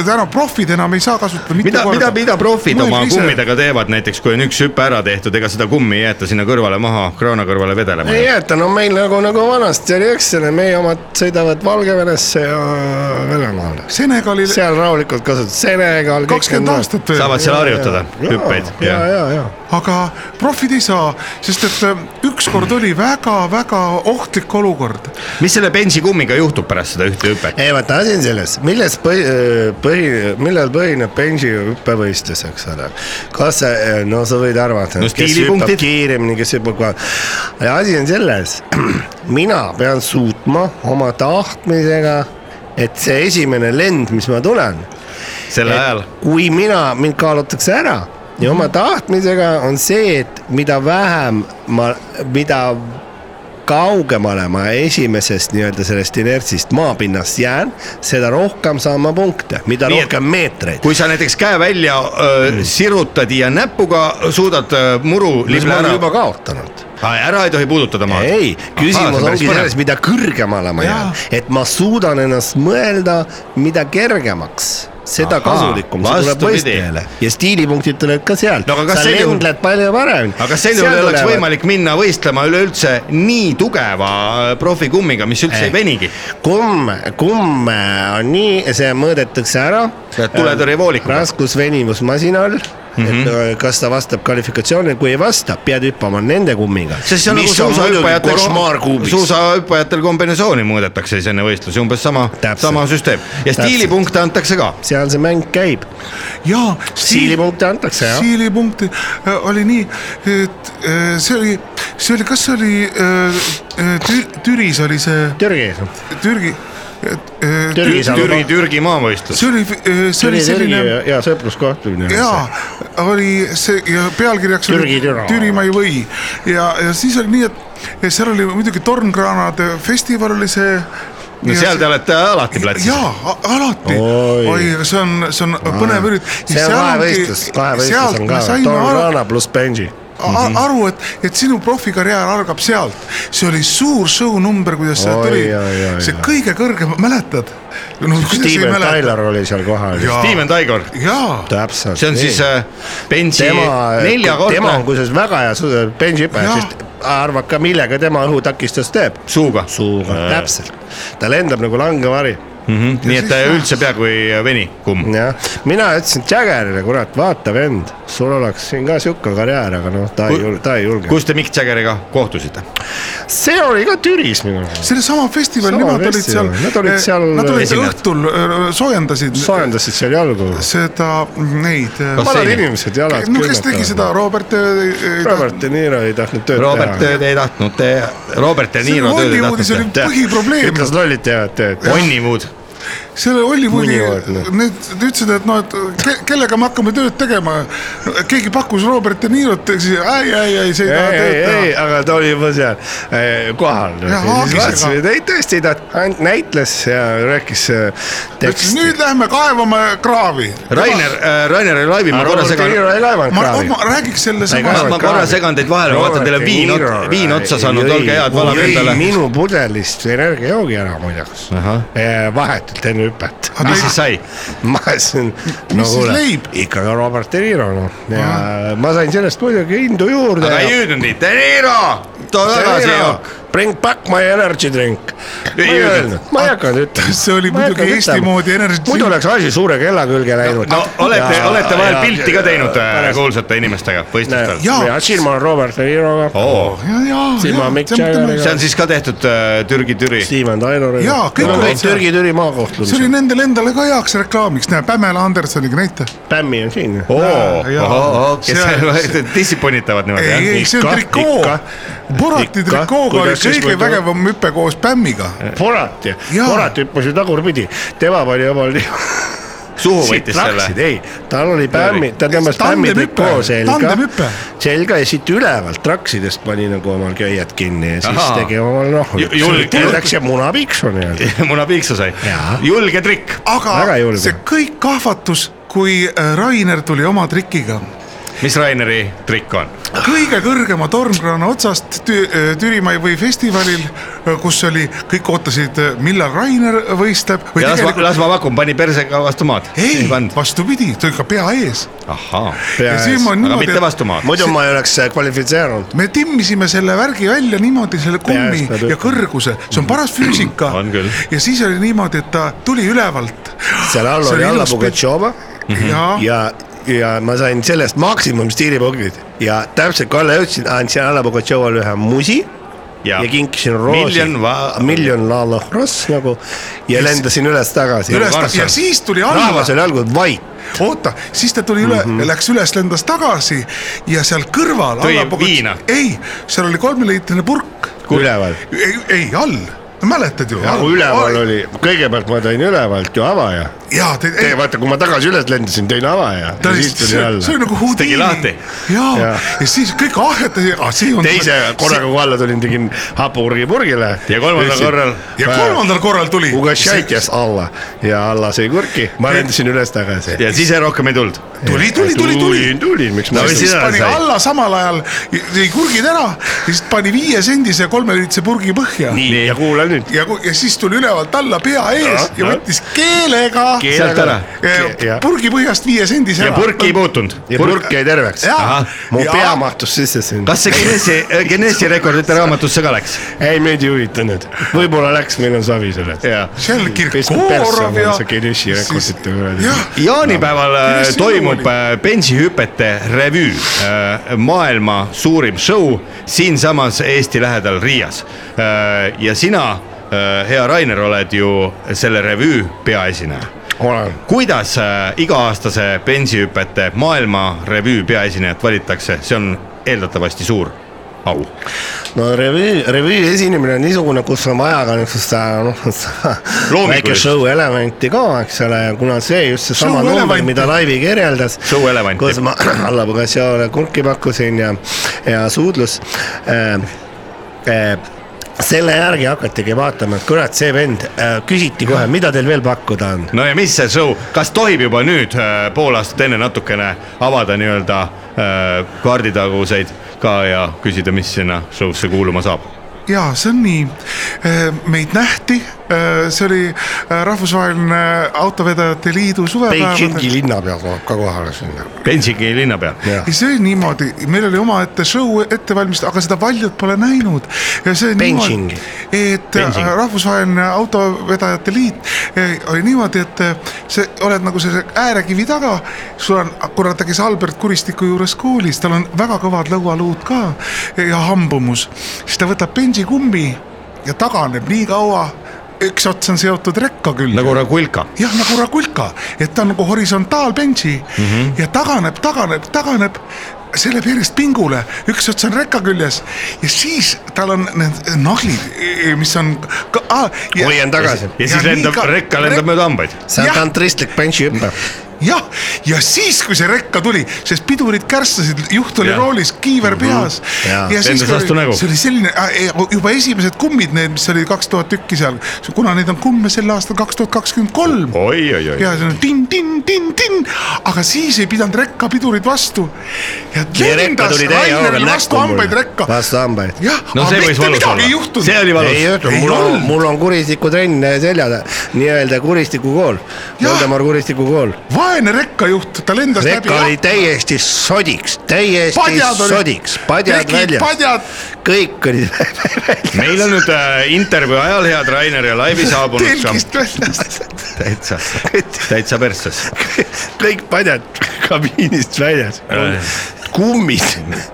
Speaker 2: täna profid enam ei saa kasutada mitu
Speaker 1: mida , mida ,
Speaker 2: korda .
Speaker 1: mida profid
Speaker 2: Mõelge
Speaker 1: oma
Speaker 2: ise.
Speaker 1: kummidega teevad , näiteks kui on üks hüpe ära tehtud , ega seda kummi ei jäeta sinna kõrvale maha , kraana kõrvale vedelema
Speaker 3: ei . jäeta , no meil nagu , nagu vanasti oli , eks ole , meie omad sõidavad Valgevenesse ja Venemaale .
Speaker 2: Senegalil
Speaker 3: seal rahulikult kasutad Senegal .
Speaker 2: kakskümmend . aastat veel .
Speaker 1: saavad seal harjutada hüppeid .
Speaker 3: ja , ja , ja .
Speaker 2: aga profid ei saa , sest et äh, ükskord oli väga-väga ohtlik olukord .
Speaker 1: mis selle bensikummiga juhtub pärast seda ühte hüpet ?
Speaker 3: ei vaata , asi on selles , milles põhi , põhi , millel põhineb bensihüppevõistlus , eks ole . kas sa , no sa võid arvata
Speaker 1: No ,
Speaker 3: kes hüppab
Speaker 1: stiilipunktid.
Speaker 3: kiiremini , kes hüppab kohe . asi on selles , mina pean suutma oma tahtmisega , et see esimene lend , mis ma tulen ,
Speaker 1: sel ajal
Speaker 3: kui mina , mind kaalutakse ära ja oma tahtmisega on see , et mida vähem ma , mida kaugemale ma esimesest nii-öelda sellest inertsist maapinnast jään , seda rohkem saan ma punkte , mida
Speaker 1: Nii
Speaker 3: Nii
Speaker 1: et-
Speaker 3: rohkem meetreid .
Speaker 1: kui sa näiteks käe välja öö, sirutad ja näpuga suudad öö, muru
Speaker 3: Mm. mis
Speaker 1: libla
Speaker 3: ma olen
Speaker 1: ära
Speaker 3: juba , kaotanud .
Speaker 1: ära ei tohi puudutada maad .
Speaker 3: ei , küsimus ongi selles ,. mida kõrgemale ma jään , et ma suudan ennast mõelda , mida kergemaks seda
Speaker 1: Ahaa,
Speaker 3: kasulikum , see tuleb
Speaker 1: vastupidi.
Speaker 3: võistlejale ja stiilipunktid tulevad ka sealt
Speaker 1: No aga
Speaker 3: no, ,
Speaker 1: kas
Speaker 3: sa
Speaker 1: sel juhul-
Speaker 3: lendled palju paremini .
Speaker 1: aga kas sel juhul ei oleks võimalik minna võistlema üleüldse nii tugeva öö, profikummiga , mis üldse ei, ei venigi ?
Speaker 3: kumm , kumm on nii , see mõõdetakse ära .
Speaker 1: Läheb tuletõrjevoolikuga.
Speaker 3: raskusvenimus masina all mm ,
Speaker 1: Mhm.
Speaker 3: -hmm. et kas ta vastab kvalifikatsioonile , kui ei vasta , pead hüppama nende kummiga .
Speaker 1: sest see on nagu suusahüppajatel ,
Speaker 3: suusa .
Speaker 1: suusahüppajatel kombinesooni mõõdetakse siis enne võistlusi , umbes sama ,
Speaker 3: Täpselt.
Speaker 1: sama süsteem ja
Speaker 3: Täpselt.
Speaker 1: stiilipunkte antakse ka .
Speaker 3: seal see mäng käib ,
Speaker 2: jaa .
Speaker 3: stiilipunkte antakse jah .
Speaker 2: siilipunkti äh, oli nii , et äh, see oli , see oli , kas see oli äh, äh, Tü- , Türis oli see ,
Speaker 3: Türgis ,
Speaker 2: Türgi ,
Speaker 3: Türgis on
Speaker 1: Türgi , Türgi maavõistlus
Speaker 2: see . oli , see oli
Speaker 3: Türgi , Türgi
Speaker 2: selline
Speaker 3: ja- ja sõpruskohtumine .
Speaker 2: jaa , oli see ja pealkirjaks
Speaker 3: Türgi
Speaker 2: oli
Speaker 3: türa.
Speaker 2: Türi ma ei või ja , ja siis oli nii , et et seal oli muidugi Tornkraanade festival oli see .
Speaker 1: no seal te olete alati platsis .
Speaker 2: jaa , alati ,
Speaker 3: Oi.
Speaker 2: oi , aga see on , see on põnev üritus .
Speaker 3: see on kahevõistlus , kahevõistlus on ka , Tom Rana pluss Benji . Mhm.
Speaker 2: aru , et , et sinu profikarjäär algab sealt , see oli suur show number , kuidas see
Speaker 3: Oi,
Speaker 2: tuli
Speaker 3: oi, oi, ,
Speaker 2: see
Speaker 3: oi.
Speaker 2: kõige kõrgem , mäletad ? no kuidas ei
Speaker 3: Steven
Speaker 2: mäleta ,
Speaker 3: Tyler oli seal kohal .
Speaker 2: Jaa.
Speaker 1: Steven Taigor ,
Speaker 2: jaa ,
Speaker 3: täpselt .
Speaker 1: see on siis äh, bensi
Speaker 3: tema , tema on
Speaker 1: neljakordne
Speaker 3: kusjuures väga hea su- bensihüppaja ,
Speaker 2: Jaa.
Speaker 3: sest arvad ka , millega tema õhutakistus teeb ?
Speaker 1: suuga .
Speaker 3: suuga , täpselt . ta lendab nagu langevari .
Speaker 1: mhm. nii et ta üldse peaaegu ei äh, veni , kumm .
Speaker 3: jah , mina ütlesin Jaggerile , kurat , vaata vend , sul oleks siin ka sihuke karjäär , aga noh , ta ei
Speaker 1: Ku- ,
Speaker 3: ta ei julge .
Speaker 1: kus te Mick Jaggeriga kohtusite ?
Speaker 3: see oli ka Türis minu arust .
Speaker 2: sellesama festivali ,
Speaker 3: Sama
Speaker 2: nemad olid
Speaker 3: festival. ,
Speaker 2: seal
Speaker 3: Nad olid seal eh,
Speaker 2: nad olid seal
Speaker 1: esinejad.
Speaker 2: õhtul , soojendasid
Speaker 3: soojendasid seal jalgu .
Speaker 2: seda , neid .
Speaker 1: Kas-
Speaker 3: vanad
Speaker 1: basseini.
Speaker 3: inimesed jalad .
Speaker 2: no kes tegi seda , Robert ? eh,
Speaker 3: Robert De Niro ei tahtnud tööd
Speaker 1: Robert
Speaker 3: teha .
Speaker 1: tööd ei tahtnud , Robert ja Niilo tööd ei
Speaker 2: Hollywoodis oli
Speaker 1: tahtnud .
Speaker 2: põhiprobleem ,
Speaker 3: ütles lollid teevad tööd .
Speaker 1: Onniwood ,
Speaker 2: selle Hollywoodi
Speaker 3: Mõnivad, , noh.
Speaker 2: need nad ütlesid , et noh , et ke, kellega me hakkame tööd tegema . keegi pakkus Robert De Nirot , siis ei , ei , ei , see ei taha
Speaker 3: ei ,
Speaker 2: tööd
Speaker 3: ei , ei ,
Speaker 2: teha .
Speaker 3: aga ta oli juba seal eh, kohal .
Speaker 2: Jah, haagisega.
Speaker 3: ei , tõesti ei tahtnud , ainult näitles ja rääkis eh,
Speaker 2: ütles
Speaker 3: teksti .
Speaker 2: nüüd lähme kaevame kraavi .
Speaker 1: Rainer , Raineri laivi
Speaker 3: Äh,
Speaker 1: ma korra segan .
Speaker 2: ma , ma räägiks selle
Speaker 3: Ei
Speaker 2: sama
Speaker 3: kaeva.
Speaker 1: ma , ma korra segan teid vahele , ma vaatan , teil on viin , viin otsa saanud , olge head , valame endale .
Speaker 3: minu pudelist energiajoogi ära muideks
Speaker 1: Ahah. .
Speaker 3: Eh, vahetult enne hüpet .
Speaker 2: Aga
Speaker 1: mis siis sai ?
Speaker 3: ma siin , no
Speaker 2: siis
Speaker 3: kuule
Speaker 2: leib? ,
Speaker 3: ikka ka Robert De Niro noh , ja ma sain sellest muidugi indu juurde .
Speaker 1: aga ei hüüdnud nii , De Niro , too tagasi ju .
Speaker 3: Bring back my energy drink . ma ei
Speaker 1: öelnud.
Speaker 3: öelnud , ma ei hakanud ütlema .
Speaker 2: See oli muidugi Eesti moodi energy drink.
Speaker 3: muidu oleks asi suure kella külge läinud .
Speaker 1: no olete , olete vahel pilti ka teinud äh, kuulsate inimestega võistlustel ?
Speaker 2: Jaa.
Speaker 3: ja siin ma olen Robert De Niroga ,
Speaker 1: oo ,
Speaker 2: ja , ja ,
Speaker 3: Siin ma Mick Jaggeriga.
Speaker 1: see on siis ka tehtud äh, Türgi türi .
Speaker 3: Steven Tailoriga .
Speaker 2: Jaa, kõik
Speaker 3: on
Speaker 2: olid
Speaker 3: kõik
Speaker 2: seal.
Speaker 3: Türgi-Türi
Speaker 2: see oli
Speaker 3: maakohtumised .
Speaker 2: nendele endale ka heaks reklaamiks , näe Pamela Andersoniga näita .
Speaker 3: Pämmi on siin .
Speaker 2: jaa.
Speaker 1: oo , kes
Speaker 2: See-
Speaker 1: distsiponitavad
Speaker 2: ei , ei
Speaker 1: niimoodi ,
Speaker 2: see on
Speaker 3: Ikka,
Speaker 2: trikoo
Speaker 3: ikka. ,
Speaker 2: Borati
Speaker 3: Ikka.
Speaker 2: trikooga oli
Speaker 3: Kuidas siis
Speaker 2: kõige
Speaker 3: võivad-
Speaker 2: vägevam hüpe koos Pämmiga .
Speaker 3: Borat ju ,
Speaker 2: Jaa.
Speaker 3: Borat hüppas ju tagurpidi , tema pani omal
Speaker 1: jah ? suhu
Speaker 3: siit
Speaker 1: võttis
Speaker 3: laksid ,
Speaker 1: selle .
Speaker 3: ei , tal oli pämmi , ta tõmbas pämmi
Speaker 2: Tandemhüpe,
Speaker 3: trikoo selga
Speaker 2: tandemhüpe. ,
Speaker 3: selga ja siit ülevalt raksidest pani nagu omal köied kinni ja siis
Speaker 1: Ahaa.
Speaker 3: Aha. tegi omal nohu
Speaker 1: Ju- . julge.
Speaker 3: Läks ja munapiksu nii-öelda .
Speaker 1: muna piiksu sai
Speaker 3: Jaa. .
Speaker 1: julge trikk .
Speaker 2: aga
Speaker 3: Väga julge.
Speaker 2: see kõik kahvatus , kui äh, Rainer tuli oma trikiga
Speaker 1: mis Raineri trikk on ?
Speaker 2: kõige kõrgema tormkrana otsast tü Türimai või festivalil , kus oli , kõik ootasid , millal Rainer võistleb või
Speaker 1: ja las ma ,
Speaker 2: tegelikult
Speaker 1: las ma pakun , pani persega vastu maad .
Speaker 2: ei ,
Speaker 1: pannud .
Speaker 2: vastupidi , ta oli ka pea ees .
Speaker 1: ahhaa ,
Speaker 2: ja siis ma
Speaker 1: aga mitte
Speaker 2: niimoodi ,
Speaker 1: vastu maad .
Speaker 3: muidu ma ei oleks äh, kvalifitseerunud .
Speaker 2: me timmisime selle värgi välja niimoodi , selle kummi
Speaker 3: ees peab
Speaker 2: ja
Speaker 3: ütlema.
Speaker 2: kõrguse , see on paras füüsika .
Speaker 1: On küll.
Speaker 2: ja siis oli niimoodi , et ta tuli ülevalt .
Speaker 3: seal all oli Alla Pugatšova
Speaker 2: ja ,
Speaker 3: ja , ja ma sain sellest maksimum stiilipunktid ja täpselt Kalle jõudsin , andsin Alla Pugatšovale ühe musi ja, ja kinkisin roosi ,
Speaker 1: miljon va-
Speaker 3: miljon la la ross nagu ja lendasin üles tagasi .
Speaker 2: üles
Speaker 1: Karlsson.
Speaker 2: ja siis tuli alla
Speaker 3: rahvas . oli algul vait ,
Speaker 2: oota , siis ta tuli
Speaker 3: Mhm.
Speaker 2: üle mm , -hmm. läks üles , lendas tagasi ja seal kõrval .
Speaker 1: Tõi viina.
Speaker 2: ei , seal oli kolmeliitrine purk .
Speaker 3: üleval .
Speaker 2: ei , ei all , mäletad ju ?
Speaker 3: nagu üleval . oli , kõigepealt ma tõin ülevalt ju avaja .
Speaker 2: jaa , te , ei ,
Speaker 3: vaata , kui ma tagasi üles lendasin , tõin avaja
Speaker 2: ta
Speaker 3: ja
Speaker 2: oli ,
Speaker 3: siis tuli
Speaker 2: see see oli
Speaker 3: alla .
Speaker 2: nagu Houdini .
Speaker 1: lahti.
Speaker 2: jaa ,
Speaker 3: Jaa.
Speaker 2: ja siis kõik ahjatasid , ah see on .
Speaker 3: teise korraga , kui alla tulin , tegin hapurgi purgile .
Speaker 1: Ja kolmandal korral-
Speaker 2: ja kolmandal korral tuli .
Speaker 3: Ugašaitis alla ja alla sai kurki , ma lendasin üles tagasi .
Speaker 1: ja siis rohkem ei tulnud .
Speaker 2: tuli , tuli , tuli , tuli
Speaker 3: tulin , tulin , miks
Speaker 1: No
Speaker 3: ma
Speaker 1: või
Speaker 3: ei
Speaker 2: siis
Speaker 1: sina
Speaker 2: pani
Speaker 1: sai.
Speaker 2: alla samal ajal , tõi kurgid ära ja siis pani viiesendise kolmeliitrise purgi põhja .
Speaker 3: tulnud . ja kuula nüüd .
Speaker 2: ja , ja siis tuli ülevalt alla pea ees ja võttis keelega
Speaker 1: sealt ära .
Speaker 2: Eh,
Speaker 3: Ja-
Speaker 2: purgi põhjast viie sendi
Speaker 1: ja
Speaker 2: ära .
Speaker 1: purki ei puutunud .
Speaker 3: ja purk jäi terveks .
Speaker 2: Jaa.
Speaker 3: mu
Speaker 2: Jaa.
Speaker 3: pea mahtus sisse sinna .
Speaker 1: kas see Guinessi , Guinessi rekordite raamatusse ka läks ?
Speaker 3: ei , meid ei huvita nüüd , võib-olla läks , meil on savi selles .
Speaker 2: see oli
Speaker 3: Pesku persse
Speaker 2: Kirkorov
Speaker 3: oma
Speaker 2: ja
Speaker 3: see Kirishi rekordite kuradi.
Speaker 2: jah ,
Speaker 1: jaanipäeval äh,
Speaker 2: Guinessi
Speaker 1: toimub
Speaker 2: juuli.
Speaker 1: äh, bensihüpete revüü , maailma suurim show siinsamas Eesti lähedal Riias . ja sina , hea Rainer , oled ju selle revüü peaesineja .
Speaker 3: olen .
Speaker 1: kuidas äh, iga-aastase bensihüpete maailma revüü peaesinejat valitakse , see on eeldatavasti suur au .
Speaker 3: no revüü , revüü esinemine on niisugune , kus on vaja ka niisugust äh, noh ,
Speaker 1: Loomingut.
Speaker 3: väike show elementi ka , eks ole , kuna see just seesama
Speaker 2: Show
Speaker 3: number ,
Speaker 2: elementi.
Speaker 3: mida Laivi kirjeldas
Speaker 1: Show elementi. ,
Speaker 3: kus ma Alla Pugasjale kurki pakkusin ja , ja suudlus äh, . Äh, selle järgi hakatigi vaatama , et kurat , see vend äh, , küsiti kohe , mida teil veel pakkuda on .
Speaker 1: no ja mis see show , kas tohib juba nüüd äh, pool aastat enne natukene avada nii-öelda äh, kaarditaguseid ka ja küsida , mis sinna show'sse kuuluma saab ?
Speaker 2: ja see on nii . Äh, meid nähti , see oli äh, rahvusvaheline äh, autovedajate liidu suvepäev .
Speaker 3: Pekingi linnapea tuleb ka kohale sinna .
Speaker 1: Pensigi linnapea .
Speaker 2: ja see oli niimoodi , meil oli omaette show ette valmistatud , aga seda paljud pole näinud . ja see oli niimoodi
Speaker 3: Benching. ,
Speaker 2: et
Speaker 1: Benching.
Speaker 2: äh, rahvusvaheline autovedajate liit eh, oli niimoodi , et eh, sa oled nagu selle äärekivi taga , sul on , kuna ta käis Albert Kuristiku juures koolis , tal on väga kõvad lõualuud ka äh, ja hambumus , siis ta võtab bensikummi ja taganeb nii kaua , üks ots on seotud rekka külge
Speaker 1: nagu Rakulka .
Speaker 2: jah , nagu Rakulka , et ta on nagu horisontaalbensi mm -hmm. ja taganeb , taganeb , taganeb , see läheb järjest pingule , üks ots on rekka küljes ja siis tal on need nahlid , mis on .
Speaker 3: hoian tagasi .
Speaker 1: ja siis
Speaker 2: Ja
Speaker 1: lendab
Speaker 2: nii ka- ,
Speaker 1: rekka lendab mööda hambaid .
Speaker 3: see on
Speaker 2: jah.
Speaker 3: tantristlik bändihüpe .
Speaker 2: jah , ja siis , kui see rekka tuli , siis pidurid kärstasid , juht oli
Speaker 1: Jah.
Speaker 2: roolis , kiiver peas .
Speaker 3: Jaa.
Speaker 1: Lendas vastu nägu.
Speaker 2: see oli selline , juba esimesed kummid , need , mis oli kaks tuhat tükki seal , kuna neid on kumme sel aastal kaks tuhat kakskümmend kolm .
Speaker 1: oi-oi-oi .
Speaker 2: ja see on tin-tin-tin-tin , aga siis ei pidanud rekkapidurid vastu . ja
Speaker 3: Ja rekka
Speaker 2: lendas
Speaker 3: tuli täie hooga
Speaker 2: Rainerile vastu
Speaker 3: näkku
Speaker 2: hambaid
Speaker 3: mulle.
Speaker 2: rekka .
Speaker 3: vastu hambaid .
Speaker 2: jah ,
Speaker 1: no
Speaker 2: aga
Speaker 1: see võis
Speaker 2: mitte
Speaker 1: valus
Speaker 2: midagi ei
Speaker 1: olla .
Speaker 2: juhtunud .
Speaker 1: see oli
Speaker 3: ei
Speaker 1: valus .
Speaker 3: juhtu ,
Speaker 2: Ei
Speaker 3: mul on ,
Speaker 2: olnud.
Speaker 3: mul on kuristikutrenn selja , nii-öelda kuristikukool ,
Speaker 2: Jah.
Speaker 3: Voldemar kuristikukool .
Speaker 2: vaene rekkajuht , ta lendas
Speaker 3: rekka oli
Speaker 2: läbi .
Speaker 3: täiesti sodiks , täiesti
Speaker 2: Padjad olid-
Speaker 3: sodiks , padjad
Speaker 2: tekid
Speaker 3: väljas
Speaker 2: padjad. ,
Speaker 3: kõik olid väljas .
Speaker 1: meil on nüüd äh, intervjuu ajal head Rainer ja Laivi saabunud ka
Speaker 2: telgist väljas .
Speaker 1: täitsa , täitsa persses .
Speaker 3: kõik padjad kabiinist väljas
Speaker 1: Äh. ,
Speaker 3: kummid ,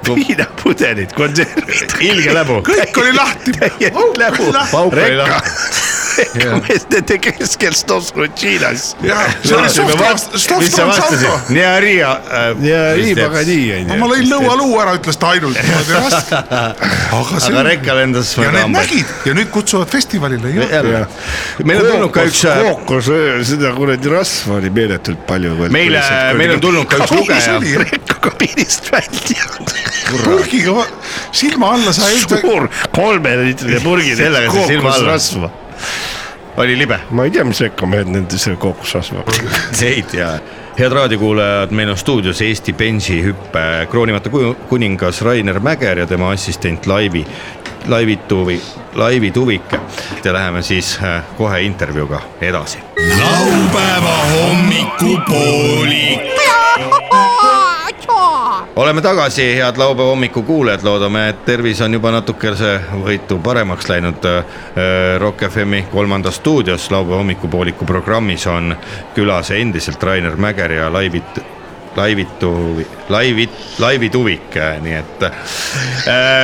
Speaker 3: viinapudelid , konservid .
Speaker 1: ilge läbu .
Speaker 2: kõik oli lahti .
Speaker 3: täielik läbu ,
Speaker 1: Pauk oli
Speaker 3: rekka
Speaker 1: lahti. .
Speaker 3: nende keskel Stoskrutšinas .
Speaker 2: see oli soft , soft
Speaker 1: mis sa
Speaker 2: transalto .
Speaker 1: vastasid ? nii , Riia äh, .
Speaker 3: onju
Speaker 2: ma lõin lõualuu ära , ütles ta ainult . aga
Speaker 1: aga rekka lendas .
Speaker 2: ja need nägid ja nüüd kutsuvad festivalile .
Speaker 1: jälle . meil on tulnud ka üks , äh,
Speaker 3: kookos , seda kuradi rasva oli meeletult palju .
Speaker 1: meile , meil on tulnud ka üks
Speaker 2: Mis
Speaker 1: lugeja
Speaker 2: oli? .
Speaker 3: rekkabiinist välja .
Speaker 2: purgiga va- silma alla sai .
Speaker 3: suur kolmeliitrine purgi
Speaker 1: Sellega sai silma alla.
Speaker 3: kookosrasva .
Speaker 1: oli libe .
Speaker 3: ma ei tea , mis rekkamehed nende selle kookosrasvaga .
Speaker 1: ei tea . head raadiokuulajad , meil on stuudios Eesti bensihüppe kroonimata kuju- kuningas Rainer Mäger ja tema assistent Laivi , Laivi Tuvi , Laivi Tuvike . ja läheme siis äh, kohe intervjuuga edasi .
Speaker 4: laupäeva hommikupoolik .
Speaker 1: oleme tagasi , head laupäeva hommiku kuulajad , loodame , et tervis on juba natukese võitu paremaks läinud . Rock FM-i kolmandas stuudios laupäeva hommikupooliku programmis on külas endiselt Rainer Mäger ja Laivit , Laivitu , Laivit , Laivi Tuvik , nii et äh,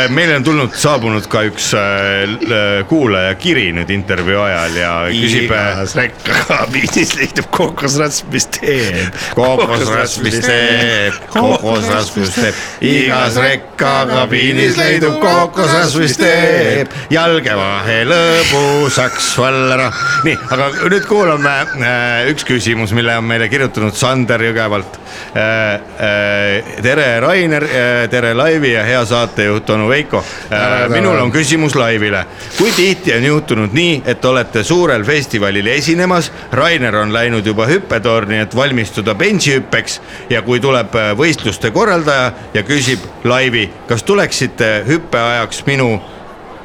Speaker 1: meile on tulnud , saabunud ka üks äh, l- kuulaja kiri nüüd intervjuu ajal ja küsib äh,
Speaker 3: igas rekkakabiinis leidub kookosrasv , mis teeb .
Speaker 1: kookosrasv , mis teeb , kookosrasv , mis teeb , igas rekkakabiinis leidub kookosrasv , mis teeb , jalge vahe lõbusaks vallara . nii , aga nüüd kuulame äh, üks küsimus , mille on meile kirjutanud Sander Jõgevalt äh, . Äh, tere , Rainer äh, , tere , Laivi ja hea saatejuht onu Veiko äh, . minul on küsimus Laivile . kui tihti on juhtunud nii , et olete suurel festivalil esinemas , Rainer on läinud juba hüppetorni , et valmistuda bensihüppeks ja kui tuleb äh, võistluste korraldaja ja küsib Laivi , kas tuleksite hüppeajaks minu ,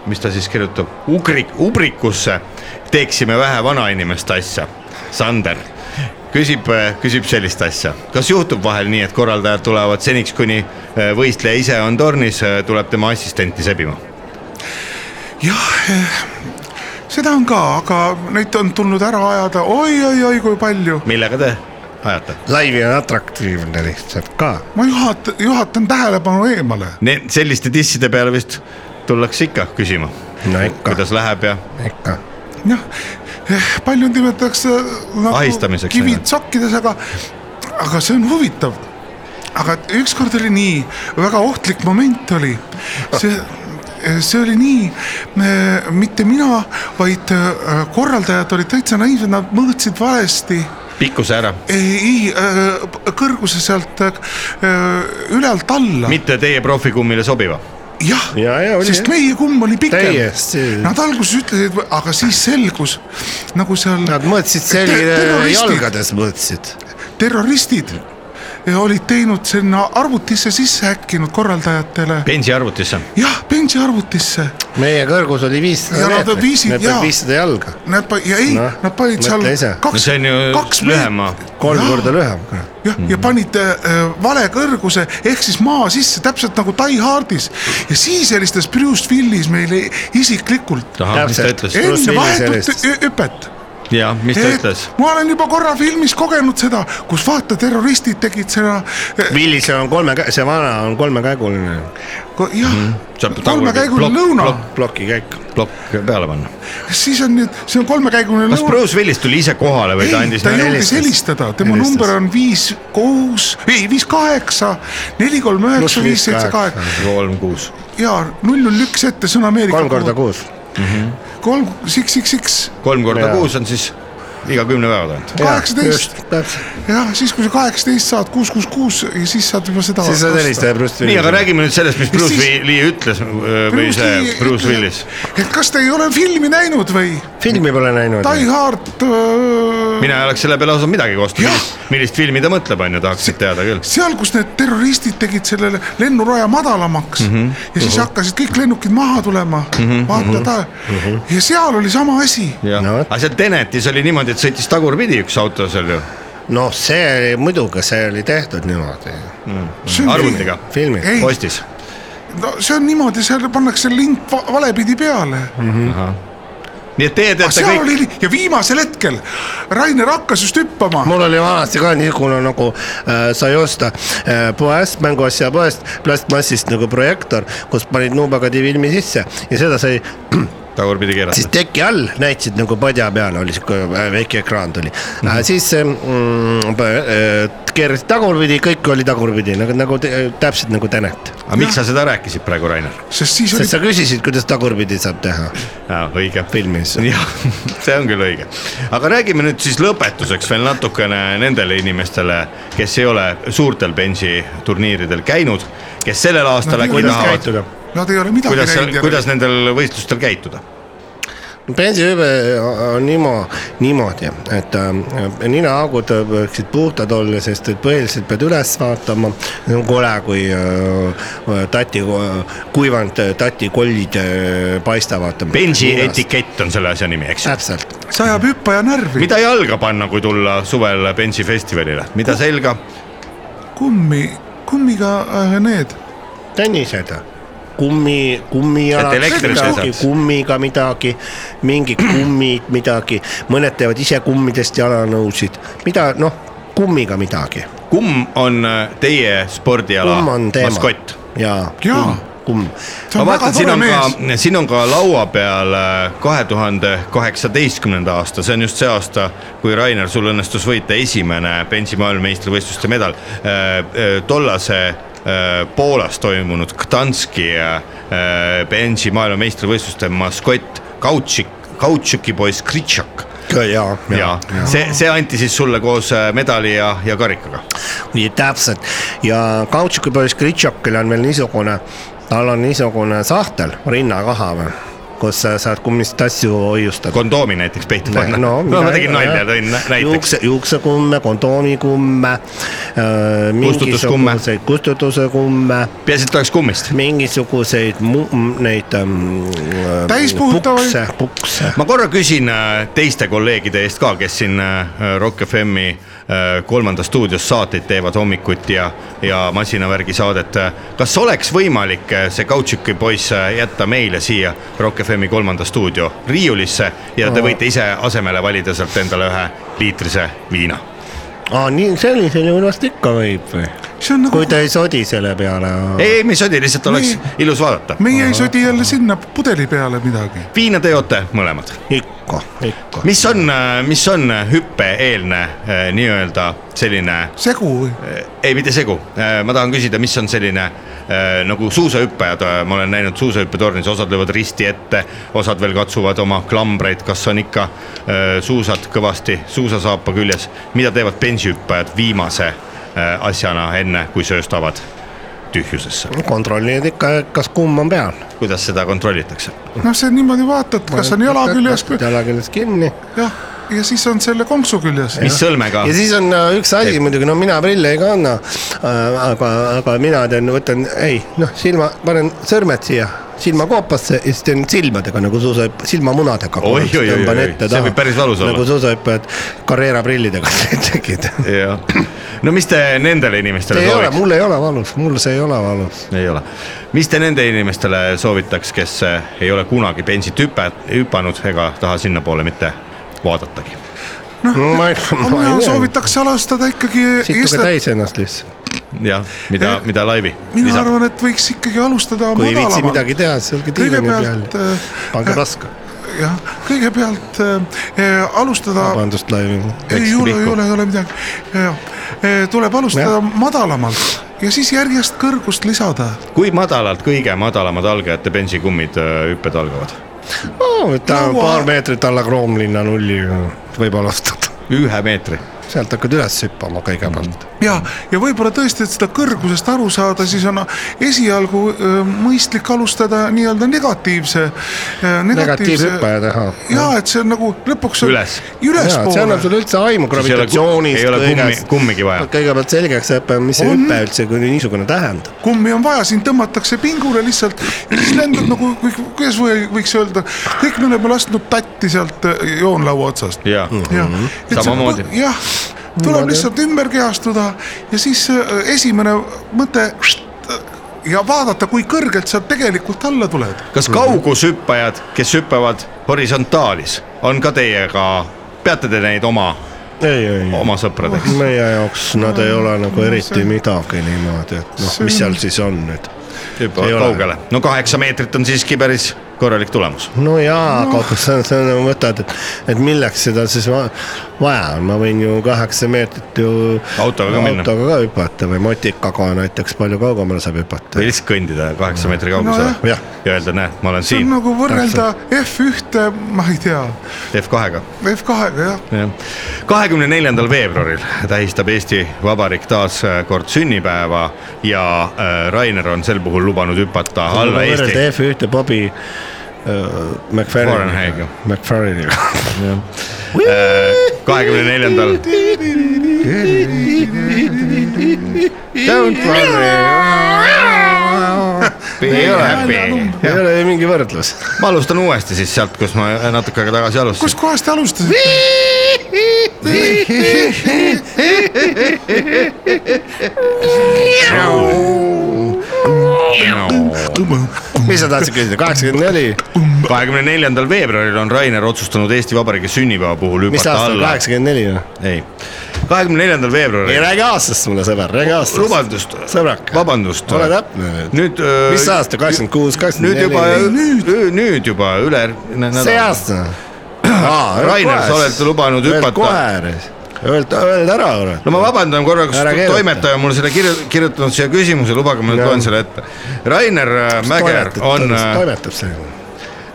Speaker 1: mis ta siis kirjutab , ugrik , ubrikusse , teeksime vähe vanainimeste asja , Sander küsib , küsib sellist asja , kas juhtub vahel nii , et korraldajad tulevad seniks , kuni äh, võistleja ise on tornis , tuleb tema assistenti sebima ?
Speaker 2: jah , seda on ka , aga neid on tulnud ära ajada oi-oi-oi kui palju .
Speaker 1: millega te ajate ?
Speaker 3: laivi on atraktiivne lihtsalt ka .
Speaker 2: ma juhat- , juhatan tähelepanu eemale .
Speaker 1: selliste disside peale vist tullakse ikka küsima ,
Speaker 3: no ikka ,
Speaker 1: kuidas läheb ja
Speaker 3: ikka .
Speaker 2: jah , paljud nimetatakse nagu
Speaker 1: Ahistamiseks
Speaker 2: kivid
Speaker 1: nimelt.
Speaker 2: sokkides , aga , aga see on huvitav . aga et ükskord oli nii , väga ohtlik moment oli , see , see oli nii , mitte mina , vaid äh, korraldajad olid täitsa naiivsed , nad mõõtsid valesti
Speaker 1: pikkuse ära ,
Speaker 2: ei , ei , kõrguse sealt äh, ülalt alla .
Speaker 1: mitte teie profikummile sobiva .
Speaker 2: jah
Speaker 3: Ja, ja, oli, ,
Speaker 2: sest
Speaker 3: jah.
Speaker 2: meie kumm oli pikem .
Speaker 3: täiesti .
Speaker 2: Nad alguses ütlesid , aga siis selgus nagu seal
Speaker 3: Nad mõõtsid
Speaker 2: Te-
Speaker 3: selgele ,
Speaker 2: terroristid.
Speaker 3: jalgades mõõtsid .
Speaker 2: terroristid äh, olid teinud sinna arvutisse sisse häkkinud korraldajatele .
Speaker 1: bensiarvutisse .
Speaker 2: jah , bensiarvutisse .
Speaker 3: meie kõrgus oli viissada
Speaker 2: Ja nad
Speaker 3: meetrit ,
Speaker 2: viisid-
Speaker 3: me
Speaker 2: jaa.
Speaker 3: panime viissada jalga ,
Speaker 2: Nad pa- , ja ei no,
Speaker 3: Noh, ,
Speaker 2: nad panid seal
Speaker 3: mõtle ise.
Speaker 1: no
Speaker 2: kaks ,
Speaker 1: see on
Speaker 2: kaks
Speaker 1: ju lühema .
Speaker 3: kolm
Speaker 2: Jaa.
Speaker 3: korda lühem .
Speaker 2: jah ,
Speaker 1: Mhm.
Speaker 2: ja panid äh, vale kõrguse ehk siis maa sisse täpselt nagu Die Hardis ja siis helistas Bruce Willis meile isiklikult .
Speaker 1: ahah , mis ta
Speaker 3: Täpselt.
Speaker 1: ütles ?
Speaker 3: Bruce
Speaker 2: enne
Speaker 3: Willis
Speaker 2: vahetut
Speaker 3: helistas.
Speaker 2: ü- hüpet .
Speaker 1: jaa , mis ta ütles ?
Speaker 2: ma olen juba korra filmis kogenud seda , kus vaata , terroristid tegid seda äh,
Speaker 3: Willis on kolme , see vana on kolmekäiguline
Speaker 2: ko- jah
Speaker 1: Saab
Speaker 2: mm, ,
Speaker 1: tagurpidi
Speaker 2: kolmekäiguline
Speaker 1: plokk-
Speaker 2: lõuna ,
Speaker 1: plokk-
Speaker 3: plokikäik .
Speaker 1: plokk peale panna .
Speaker 2: siis on nüüd , see on kolmekäiguline
Speaker 1: kas
Speaker 2: lõuna .
Speaker 1: Bruce Willis tuli ise kohale või ta
Speaker 2: ei ,
Speaker 1: andis nagu
Speaker 2: ta jõudis
Speaker 3: helistas.
Speaker 2: helistada , tema
Speaker 3: Helistas.
Speaker 2: number on viis , kuus , ei viis , kaheksa , neli , kolm , üheksa , viis , seitse , kaheksa
Speaker 1: kolm kuus .
Speaker 2: ja null on üks ette , see on Ameerika .
Speaker 3: kolm korda . kuus .
Speaker 2: kolm , siks , siks , siks ,
Speaker 1: kolm korda
Speaker 3: Jaa.
Speaker 1: kuus on siis iga kümne päeva tagant .
Speaker 2: kaheksateist ,
Speaker 3: täpselt ,
Speaker 2: jah , siis kui sa kaheksateist saad , kuus , kuus , kuus ja siis saad juba seda .
Speaker 3: siis sa helistad . Bruce
Speaker 1: nii , aga
Speaker 3: Willisile .
Speaker 1: räägime nüüd sellest , mis Bruce
Speaker 2: siis-
Speaker 1: Willis ütles öö, või see Bruce Willis ..
Speaker 2: et kas te ei ole filmi näinud või ?
Speaker 3: filmi pole näinud .
Speaker 2: Die Hard äh, ,
Speaker 1: mina ei oleks selle peale osanud midagi kosta
Speaker 2: Jah. ,
Speaker 1: millist filmi ta mõtleb , on ju , tahaksid teada küll .
Speaker 2: seal , kus need terroristid tegid selle lennuraja madalamaks mm
Speaker 1: Mhm.
Speaker 2: -hmm. ja siis uh -huh. hakkasid kõik lennukid maha tulema mm , -hmm. vaata ta uh ,
Speaker 1: Mhm.
Speaker 2: -huh. ja seal oli sama asi .
Speaker 1: jah
Speaker 3: No
Speaker 1: no, ,
Speaker 3: vot.
Speaker 1: aga seal Tenetis oli niimoodi , et sõitis tagurpidi üks auto seal ju ,
Speaker 3: noh , see oli muidugi , see oli tehtud niimoodi ,
Speaker 1: arvutiga ,
Speaker 3: filmid .
Speaker 2: Ei.
Speaker 1: postis .
Speaker 2: no see on niimoodi , seal pannakse link va valepidi peale
Speaker 3: Mhm.
Speaker 1: nii et teie
Speaker 2: aga
Speaker 1: teate
Speaker 2: seal kõik...
Speaker 1: Mhm. kõik ,
Speaker 2: oli ja viimasel hetkel Rainer hakkas just hüppama .
Speaker 3: mul oli vanasti ka niisugune nagu äh, sai osta äh, poest , mänguasjapoest , plastmassist nagu projektoor , kus panid nuubagadi filmi sisse ja seda sai
Speaker 1: tagurpidi
Speaker 3: siis
Speaker 1: keerata .
Speaker 3: teki all näitasid nagu padja peal oli sihuke äh, väike ekraan tuli mm ,
Speaker 1: Mhm.
Speaker 3: -hmm. siis mm, pö- äh, keerati tagurpidi , kõik oli tagurpidi nagu , nagu te- täpselt nagu Tenet .
Speaker 1: aga miks sa seda rääkisid praegu , Rainer ?
Speaker 2: sest siis oli
Speaker 3: sest sa küsisid , kuidas tagurpidi saab teha
Speaker 1: Ah, õige .
Speaker 3: filmis .
Speaker 1: jah , see on küll õige . aga räägime nüüd siis lõpetuseks veel natukene nendele inimestele , kes ei ole suurtel bensiturniiridel käinud , kes sellel aastal äkki
Speaker 2: kuidas
Speaker 1: tahavad ,
Speaker 2: Nad ei ole midagi
Speaker 1: kuidas ,
Speaker 2: näinud
Speaker 1: kuidas nendel võistlustel käituda .
Speaker 3: bensihüve on niimo- , niimoodi , et äh, ninaaugud peaksid puhtad olla , sest et põhiliselt pead üles vaatama . see on kole , kui äh, tati , kuivanud äh, tati kollid äh, paistavad .
Speaker 1: bensi . etikett on selle asja nimi , eks ju .
Speaker 3: täpselt ,
Speaker 2: see ajab hüppaja närvi Mid... ,
Speaker 1: mida jalga panna , kui tulla suvel bensifestivalile , mida selga ?
Speaker 2: kummi , kummiga äh, need ,
Speaker 3: tennised , kummi , kummijalad
Speaker 1: Et elektrit ei , saaks.
Speaker 3: kummiga midagi , mingid kummid , midagi , mõned teevad ise kummidest jalanõusid , mida noh , kummiga midagi
Speaker 1: kumm on äh, teie spordiala
Speaker 3: kumm on teema .
Speaker 1: maskott ?
Speaker 3: jaa .
Speaker 2: Jaa.
Speaker 3: kumm .
Speaker 2: see
Speaker 1: ma
Speaker 2: on väga
Speaker 1: vaatan , siin
Speaker 2: tore
Speaker 1: on
Speaker 2: mees
Speaker 1: ka , siin on ka laua peal kahe tuhande kaheksateistkümnenda aasta , see on just see aasta , kui Rainer , sul õnnestus võita esimene Bensi maailmameistrivõistluste medal . tollase äh, Poolas toimunud Gdanski äh, Bensi maailmameistrivõistluste maskott Kautšik , Kautšiki poiss Kritšak
Speaker 3: jaa ,
Speaker 1: ja
Speaker 3: jaa .
Speaker 1: see , see anti siis sulle koos äh, medali ja , ja karikaga .
Speaker 3: nii täpselt ja kautsikupoiss Kritšokil on veel niisugune , tal on niisugune sahtel rinnakaha peal , kus sa saad kummist asju hoiustada .
Speaker 1: kondoomi näiteks peitu panna . no, no ma tegin nalja , tõin nä- näiteks .
Speaker 3: juukse , juuksekumme , äh, kondoomi .
Speaker 1: Kustutuskumme.
Speaker 3: kustutuse kumme ,
Speaker 1: peaasi , et oleks kummist .
Speaker 3: mingisuguseid mu- m- neid .
Speaker 2: Täispuhutavaid.
Speaker 3: pukse , pukse .
Speaker 1: ma korra küsin äh, teiste kolleegide eest ka , kes siin äh, Rock FM-i äh, kolmandas stuudios saateid teevad hommikuti ja , ja masinavärgi saadet . kas oleks võimalik äh, see Kautšiki poiss äh, jätta meile siia Rock FM-i kolmanda stuudio riiulisse ja te võite ise asemele valida sealt endale ühe liitrise viina
Speaker 3: aa , nii sellisel juhul vast ikka võib või ?
Speaker 2: see on nagu
Speaker 3: kui ta ei sodi selle peale .
Speaker 1: ei , ei , me ei sodi , lihtsalt oleks
Speaker 2: Me-
Speaker 1: ilus vaadata .
Speaker 2: meie ei sõdi jälle sinna pudeli peale midagi .
Speaker 1: viina te joote mõlemad .
Speaker 3: ikka , ikka .
Speaker 1: mis on , mis on hüppe-eelne eh, nii-öelda selline ,
Speaker 2: segu või ?
Speaker 3: Eh.
Speaker 1: ei mitte segu , ma tahan küsida , mis on selline eh, nagu suusahüppajad , ma olen näinud suusahüppetornis , osad löövad risti ette , osad veel katsuvad oma klambreid , kas on ikka eh, suusad kõvasti suusasaapa küljes , mida teevad bensihüppajad viimase eh, asjana , enne kui sööstavad tühjusesse ,
Speaker 3: kontrollid ikka , kas kumm on peal .
Speaker 1: kuidas seda kontrollitakse ?
Speaker 2: noh , see niimoodi vaatad , kas on jala küljes või ,
Speaker 3: jala küljes kinni ,
Speaker 2: jah , ja siis on selle konksu küljes .
Speaker 1: mis sõlmega Eh.
Speaker 3: ja ? siis on äh, üks asi muidugi , no mina prille ei kanna , aga , aga mina teen , võtan , ei noh , silma , panen sõrmed siia silmakoopasse ja siis teen silmadega nagu suusahüpp- , silmamunadega .
Speaker 1: Oi, oi, oi, oi, oi, see võib päris valus olla.
Speaker 3: nagu suusahüppajad Carrera prillidega tegid .
Speaker 1: jah , no mis te nendele inimestele
Speaker 3: ei ole ,
Speaker 1: soovitaks ?
Speaker 3: mul ei ole valus , mul see ei ole valus .
Speaker 1: ei ole , mis te nende inimestele soovitaks , kes eh, ei ole kunagi bensit hüpe , hüpanud ega taha sinnapoole mitte vaadatagi ?
Speaker 3: ma ei , ma
Speaker 2: Noh, mina
Speaker 3: ei tea ,
Speaker 2: soovitaks alustada ikkagi
Speaker 3: situge
Speaker 2: istet-
Speaker 3: täis ennast lihtsalt .
Speaker 1: jah , mida , mida laivi
Speaker 2: mina Lisa. ? arvan , et võiks ikkagi alustada
Speaker 3: kui ei viitsi
Speaker 2: madalamalt .
Speaker 3: midagi teha , siis olge diivani
Speaker 2: kõigepealt
Speaker 3: peal , pange
Speaker 2: äh,
Speaker 3: raske ,
Speaker 2: jah , kõigepealt äh, alustada ,
Speaker 3: vabandust , laivi .
Speaker 2: ei
Speaker 1: läksid
Speaker 2: ole , ei
Speaker 1: pihku.
Speaker 2: ole , ei ole midagi , tuleb alustada ja. madalamalt ja siis järjest kõrgust lisada .
Speaker 1: kui madalalt kõige madalamad algajate bensikummid eh, hüpped algavad ?
Speaker 3: ta on
Speaker 2: Laua-
Speaker 3: paar meetrit alla Kroomlinna nulli , võib alustada .
Speaker 1: ühe meetri .
Speaker 3: sealt hakkad üles hüppama kõigepealt .
Speaker 2: ja , ja võib-olla tõesti , et seda kõrgusest aru saada , siis on esialgu äh, mõistlik alustada nii-öelda negatiivse , negatiivse
Speaker 3: negatiivhüppaja teha .
Speaker 2: ja et see on nagu lõpuks on
Speaker 1: Üles.
Speaker 3: see annab
Speaker 2: ülespoole .
Speaker 3: sulle üldse aimu
Speaker 1: ei ole ku-
Speaker 3: gravitatsioonist .
Speaker 1: ei ole kummi , kummigi vaja .
Speaker 3: kõigepealt selgeks õppe , mis see
Speaker 2: On.
Speaker 3: hüpe üldse kui niisugune tähendab .
Speaker 2: kummi on vaja , sind tõmmatakse pingule lihtsalt ja siis lendad nagu , kuidas või- võiks öelda , kõik me oleme lasknud tatti sealt äh, joonlaua otsast .
Speaker 1: jaa ,
Speaker 2: jah ,
Speaker 1: Samamoodi.
Speaker 2: jah , tuleb lihtsalt ümber kehastuda ja siis äh, esimene mõte äh, ja vaadata , kui kõrgelt sa tegelikult alla tuled .
Speaker 1: kas kaugushüppajad , kes hüppavad horisontaalis , on ka teiega , peate te neid oma ,
Speaker 3: ei , ei ,
Speaker 1: oma sõpradeks ?
Speaker 3: meie jaoks nad ei ole nagu eriti midagi niimoodi , et noh , mis seal siis on nüüd . Ei
Speaker 1: hüppavad
Speaker 3: ole.
Speaker 1: kaugele , no kaheksa meetrit on siiski päris korralik tulemus .
Speaker 3: no jaa no. , aga sa , sa nagu võtad , et , et milleks seda siis va vaja on , ma võin ju kaheksa meetrit ju
Speaker 1: Autoga ka minna.
Speaker 3: autoga ka hüpata või motikaga näiteks palju kaugemale saab hüpata
Speaker 1: või . lihtsalt kõndida kaheksa meetri kaugusele
Speaker 2: Nojah.
Speaker 1: ja öelda , näe , ma olen
Speaker 2: see on
Speaker 1: siin
Speaker 2: nagu võrrelda F1-te , ma ei tea , nagu-
Speaker 1: F2-ga .
Speaker 2: F2-ga jah ,
Speaker 1: kahekümne neljandal veebruaril tähistab Eesti Vabariik taas äh, kord sünnipäeva ja äh, Rainer on sel puhul lubanud hüpata alla Eesti .
Speaker 3: F1-te Bobby äh, McFarlane'iga
Speaker 1: Fahrenheit'iga. ,
Speaker 3: McFarlane'iga .
Speaker 1: kahekümne neljandal
Speaker 3: Don't worry ,
Speaker 1: ei ole häbi .
Speaker 3: ei ole ju mingi võrdlus .
Speaker 1: ma alustan uuesti siis sealt , kus ma natuke aega tagasi alustasin .
Speaker 2: kuskohast te alustasite ?
Speaker 3: mis sa tahtsid küsida , kaheksakümmend neli ,
Speaker 1: kahekümne neljandal veebruaril on Rainer otsustanud Eesti Vabariigi sünnipäeva puhul
Speaker 3: mis
Speaker 1: hüpata
Speaker 3: aastal ,
Speaker 1: alla .
Speaker 3: kaheksakümmend neli või ?
Speaker 1: ei , kahekümne neljandal
Speaker 3: ei
Speaker 1: veebruaril ,
Speaker 3: räägi aastast mulle sõber , räägi aastast .
Speaker 1: vabandust ,
Speaker 3: sõbrake.
Speaker 1: vabandust ,
Speaker 3: ole täpne nüüd .
Speaker 1: nüüd .
Speaker 3: mis aasta , kaheksakümmend kuus ,
Speaker 1: nüüd
Speaker 3: kaheksakümmend
Speaker 1: juba
Speaker 3: neli ?,
Speaker 1: nüüd, nüüd juba üle .
Speaker 3: see . aasta .
Speaker 1: Rainer , sa oled lubanud hüpata .
Speaker 3: kohe , öelda , öelda ära , kurat .
Speaker 1: no ma vabandan korra , kas
Speaker 3: Ära keeruta.
Speaker 1: toimetaja on mulle selle kirju- , kirjutanud siia küsimuse , lubage , ma nüüd
Speaker 3: Jah.
Speaker 1: loen selle ette . Rainer äh, Mäger on , äh,
Speaker 3: toimetab see .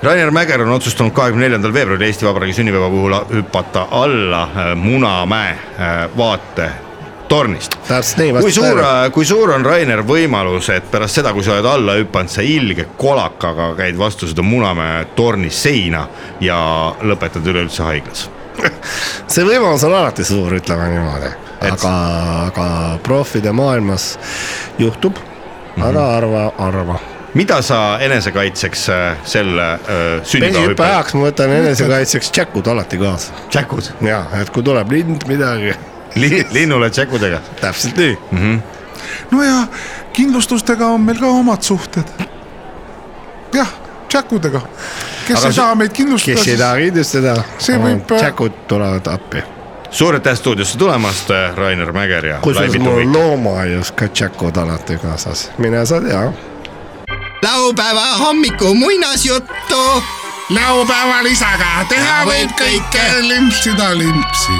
Speaker 1: Rainer Mäger on otsustanud kahekümne neljandal veebruaril Eesti Vabariigi sünnipäeva puhul hüpata alla äh, Munamäe äh, vaatetornist .
Speaker 3: täpselt nii ,
Speaker 1: kui suur , äh, kui suur on Rainer võimalus , et pärast seda , kui sa oled alla hüpanud , sa ilge kolakaga käid vastu seda Munamäe torni seina ja lõpetad üleüldse haiglas ?
Speaker 3: see võimalus on alati suur , ütleme niimoodi .
Speaker 1: Et-
Speaker 3: aga , aga proffide maailmas juhtub , ära
Speaker 1: Mhm.
Speaker 3: arva , arva .
Speaker 1: mida sa enesekaitseks äh, sel äh,
Speaker 3: bensihüppe
Speaker 1: sünnipäeva
Speaker 3: ajaks ma võtan enesekaitseks tšekud alati kaasa .
Speaker 1: hüppel ? tšäkud ,
Speaker 3: ja , et kui tuleb lind , midagi ,
Speaker 1: linnule tšäkudega .
Speaker 3: täpselt nii .
Speaker 2: no ja kindlustustega on meil ka omad suhted . jah , tšäkkudega , kes
Speaker 1: Aga
Speaker 2: Aga ei
Speaker 1: see-
Speaker 2: taha meid kindlustada ,
Speaker 3: kes ei taha kindlustada ,
Speaker 2: See võib-
Speaker 3: tšekud
Speaker 1: äh,
Speaker 3: tulevad appi
Speaker 1: suur aitäh stuudiosse tulemast , Rainer Mäger ja
Speaker 3: kusjuures
Speaker 1: Laivi
Speaker 3: mul
Speaker 1: Tuvi
Speaker 3: on . loomaaias ka tšäkud alati kaasas , mine sa tea .
Speaker 7: laupäeva hommiku muinasjuttu
Speaker 2: laupäeval isaga teha
Speaker 7: võib kõike. ,
Speaker 2: limpsida limpsi .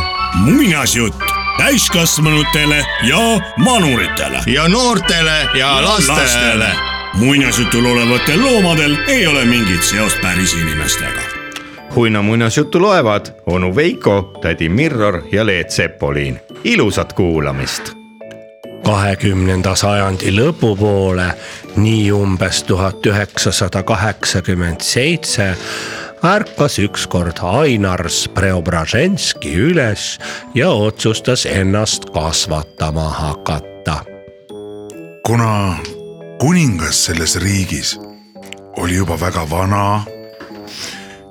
Speaker 4: muinasjutt täiskasvanutele ja manuritele .
Speaker 1: ja noortele ja lastele .
Speaker 4: muinasjutul olevatel loomadel ei ole mingit seost päris inimestega .
Speaker 1: Uina muinasjuttu loevad onu Veiko , tädi Mirror ja Leet Sepoliin . ilusat kuulamist
Speaker 8: kahekümnenda sajandi lõpupoole , nii umbes tuhat üheksasada kaheksakümmend seitse
Speaker 3: ärkas ükskord Ainar Spreobraženski üles ja otsustas ennast kasvatama hakata
Speaker 2: kuna kuningas selles riigis oli juba väga vana ,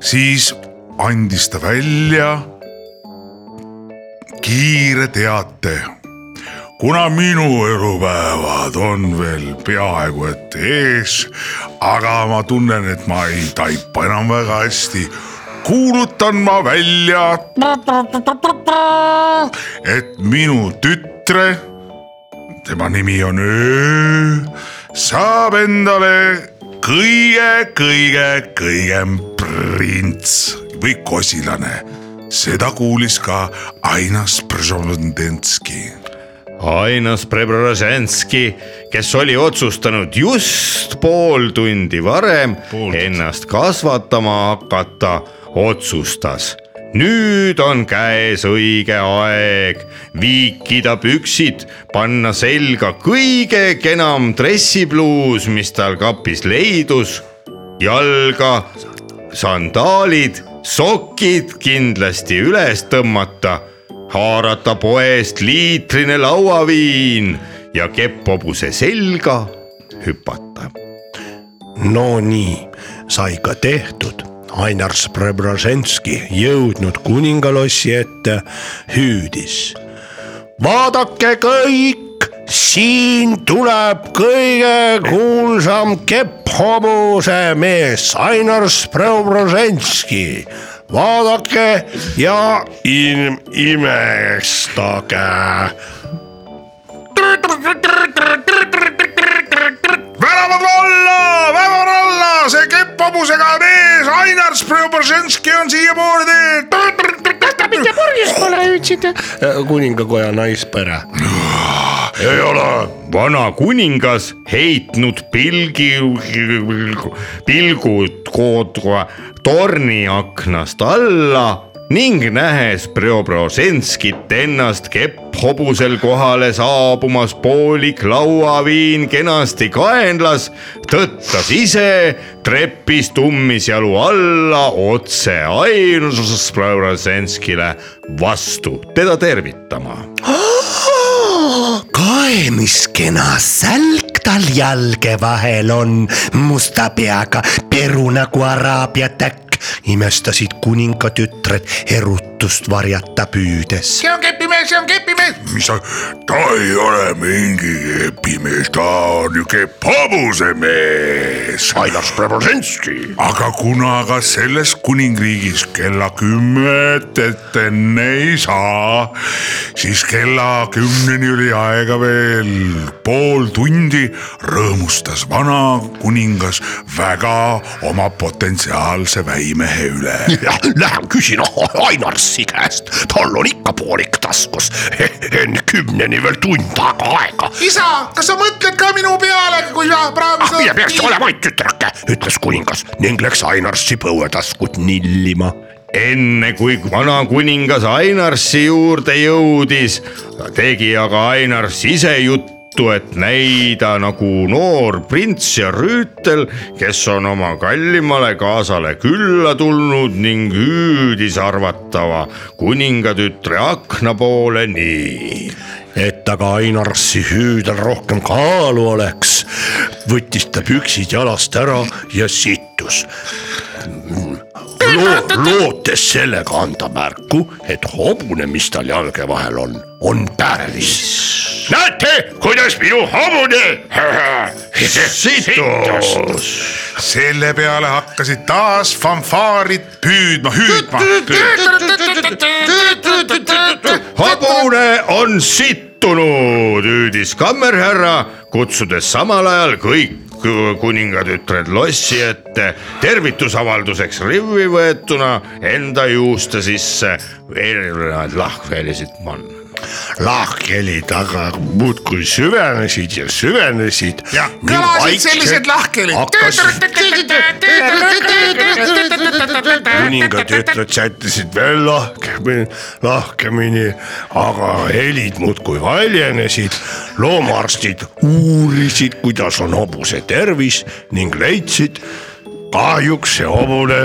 Speaker 2: siis andis ta välja kiire teate . kuna minu elupäevad on veel peaaegu et ees , aga ma tunnen , et ma ei taipa enam väga hästi , kuulutan ma välja , et minu tütre tema nimi on Öö , saab endale kõige-kõige-kõigem prints või kosilane . seda kuulis ka Ainas Przobdenski .
Speaker 1: Ainas Preobraženski , kes oli otsustanud just pool tundi varem pool. ennast kasvatama hakata , otsustas . nüüd on käes õige aeg viikida püksid , panna selga kõige kenam dressipluus , mis tal kapis leidus , jalga , sandaalid , sokid kindlasti üles tõmmata , haarata poest liitrine lauaviin ja kepphobuse selga hüpata .
Speaker 3: Nonii , sai ka tehtud . Ainar Sprebraženski , jõudnud kuningalossi ette , hüüdis . vaadake kõik , siin tuleb kõige kuulsam kepphobuse mees Ainar Sprebraženski . vaadake ja im- , imestage
Speaker 2: väravad alla , väravad alla , see kepphobusega on ees , Ainar Przobdenski on siiapoole teel .
Speaker 3: purjus pole hüüdsite . kuningakoja naispere .
Speaker 1: ei ole vana kuningas heitnud pilgi , pilgud koodva torni aknast alla ning nähes Preobroženskit ennast kepphobusel kohale saabumas poolik lauaviin kenasti kaenlas , tõttas ise trepist ummisjalu alla otse ainus Preobroženskile vastu teda tervitama
Speaker 9: kae , mis kena sälg tal jalge vahel on , musta peaga peru nagu araabia täkk , imestasid kuningatütred erutust varjata püüdes .
Speaker 2: see on kepimees , see on kepimees . mis sa , ta ei ole mingi kepimees , ta on ju kepabuse mees . Ainar Spreboženski . aga kuna ka selles kuningriigis kella kümmet ette enne ei saa , siis kella kümneni oli aega veel pool tundi , rõõmustas vana kuningas väga oma potentsiaalse väimehe üle .
Speaker 9: Lähen küsin noh, Ainarsi käest , tal on ikka poolik taskus , enne kümneni veel tund aega aega .
Speaker 2: isa , kas sa mõtled ka minu peale , kui sa praegu
Speaker 9: ah , ja peaks olema ainult tütrake , ütles kuningas ning läks Ainarsi põuetaskut nillima .
Speaker 1: enne kui vanakuningas Ainarsi juurde jõudis , tegi aga Ainars ise juttu , et näida nagu noor prints ja rüütel , kes on oma kallimale kaasale külla tulnud ning hüüdis arvatava kuningatütre akna poole nii .
Speaker 3: et aga Ainarsi hüüdel rohkem kaalu oleks , võttis ta püksid jalast ära ja sittus . Loo, lootes sellega anda märku , et hobune , mis tal jalge vahel on , on päris . näete , kuidas minu hobune
Speaker 1: situs .
Speaker 2: selle peale hakkasid taas fanfaarid püüdma , hüüdma .
Speaker 1: hobune on sittunud , hüüdis kammerhärra , kutsudes samal ajal kõik kuningatütred lossi ette tervitusavalduseks rivvi võetuna enda juuste sisse erinevaid lahkhelisid manna .
Speaker 3: lahkhelid aga muudkui süvenesid ja süvenesid .
Speaker 2: kõlasid sellised lahkhelid.
Speaker 3: kuningad ütlevad , sättisid veel lahkemini , lahkemini , aga helid muudkui valjenesid . loomaarstid uurisid , kuidas on hobuse tervis ning leidsid , kahjuks see hobune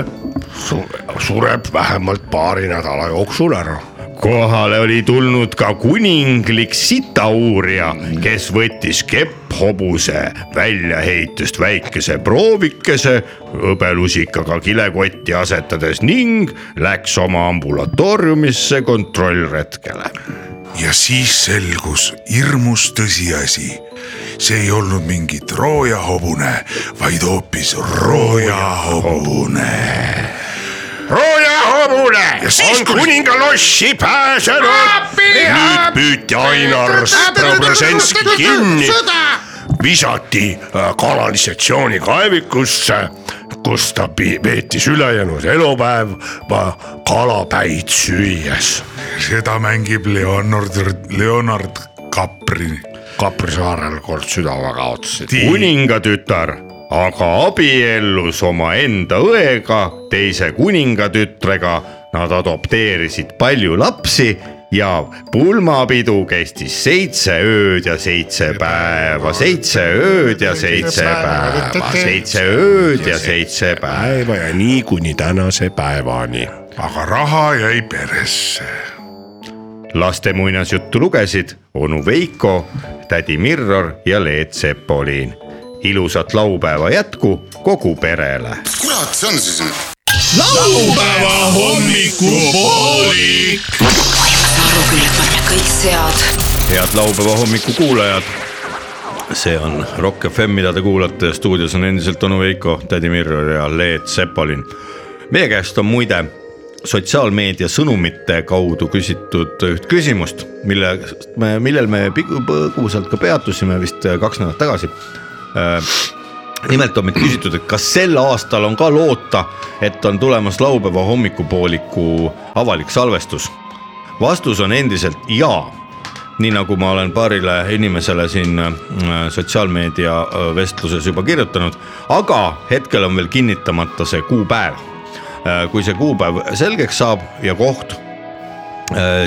Speaker 10: sureb vähemalt paari nädala jooksul ära
Speaker 1: kohale oli tulnud ka kuninglik sitauurija , kes võttis kepphobuse väljaheitest väikese proovikese hõbelusikaga kilekotti asetades ning läks oma ambulatooriumisse kontrollretkele .
Speaker 5: ja siis selgus hirmus tõsiasi . see ei olnud mingi Trooja hobune , vaid hoopis Rooja hobune .
Speaker 1: Rooja hobune on kuningalossi pääsenud . nüüd püüti Ainar Strobrõženski kinni ,
Speaker 9: visati äh, kanalisatsioonikaevikusse , kus ta pi- veetis ülejäänud elupäev va- kalapäid süües
Speaker 5: seda mängib Leonard , Leonard Kaprin .
Speaker 9: Kapri saarel kord süda väga kaotasid .
Speaker 1: kuningatütar aga abiellus omaenda õega , teise kuningatütrega . Nad adopteerisid palju lapsi ja pulmapidu kestis seitse ööd ja seitse päeva , seitse ööd ja seitse päeva , seitse ööd ja seitse päeva .
Speaker 10: päeva ja nii kuni tänase päevani .
Speaker 5: aga raha jäi peresse .
Speaker 1: laste muinasjuttu lugesid onu Veiko , tädi Mirror ja Leet Sepolin . ilusat laupäeva jätku kogu perele
Speaker 11: kurat , see on siis nüüd ?
Speaker 4: laupäeva hommikupoolik .
Speaker 12: kõik sead
Speaker 1: head laupäeva hommiku kuulajad . see on Rock FM , mida te kuulate , stuudios on endiselt onu Veiko , tädi Mirror ja Leet Sepolin . meie käest on muide sotsiaalmeedia sõnumite kaudu küsitud üht küsimust , mille , millel me pigu- põgusalt ka peatusime vist kaks nädalat tagasi . nimelt on meid küsitud , et kas sel aastal on ka loota , et on tulemas laupäeva hommikupooliku avalik salvestus vastus on endiselt jaa . nii nagu ma olen paarile inimesele siin äh, sotsiaalmeedia äh, vestluses juba kirjutanud , aga hetkel on veel kinnitamata see kuupäev . kui see kuupäev selgeks saab ja koht ,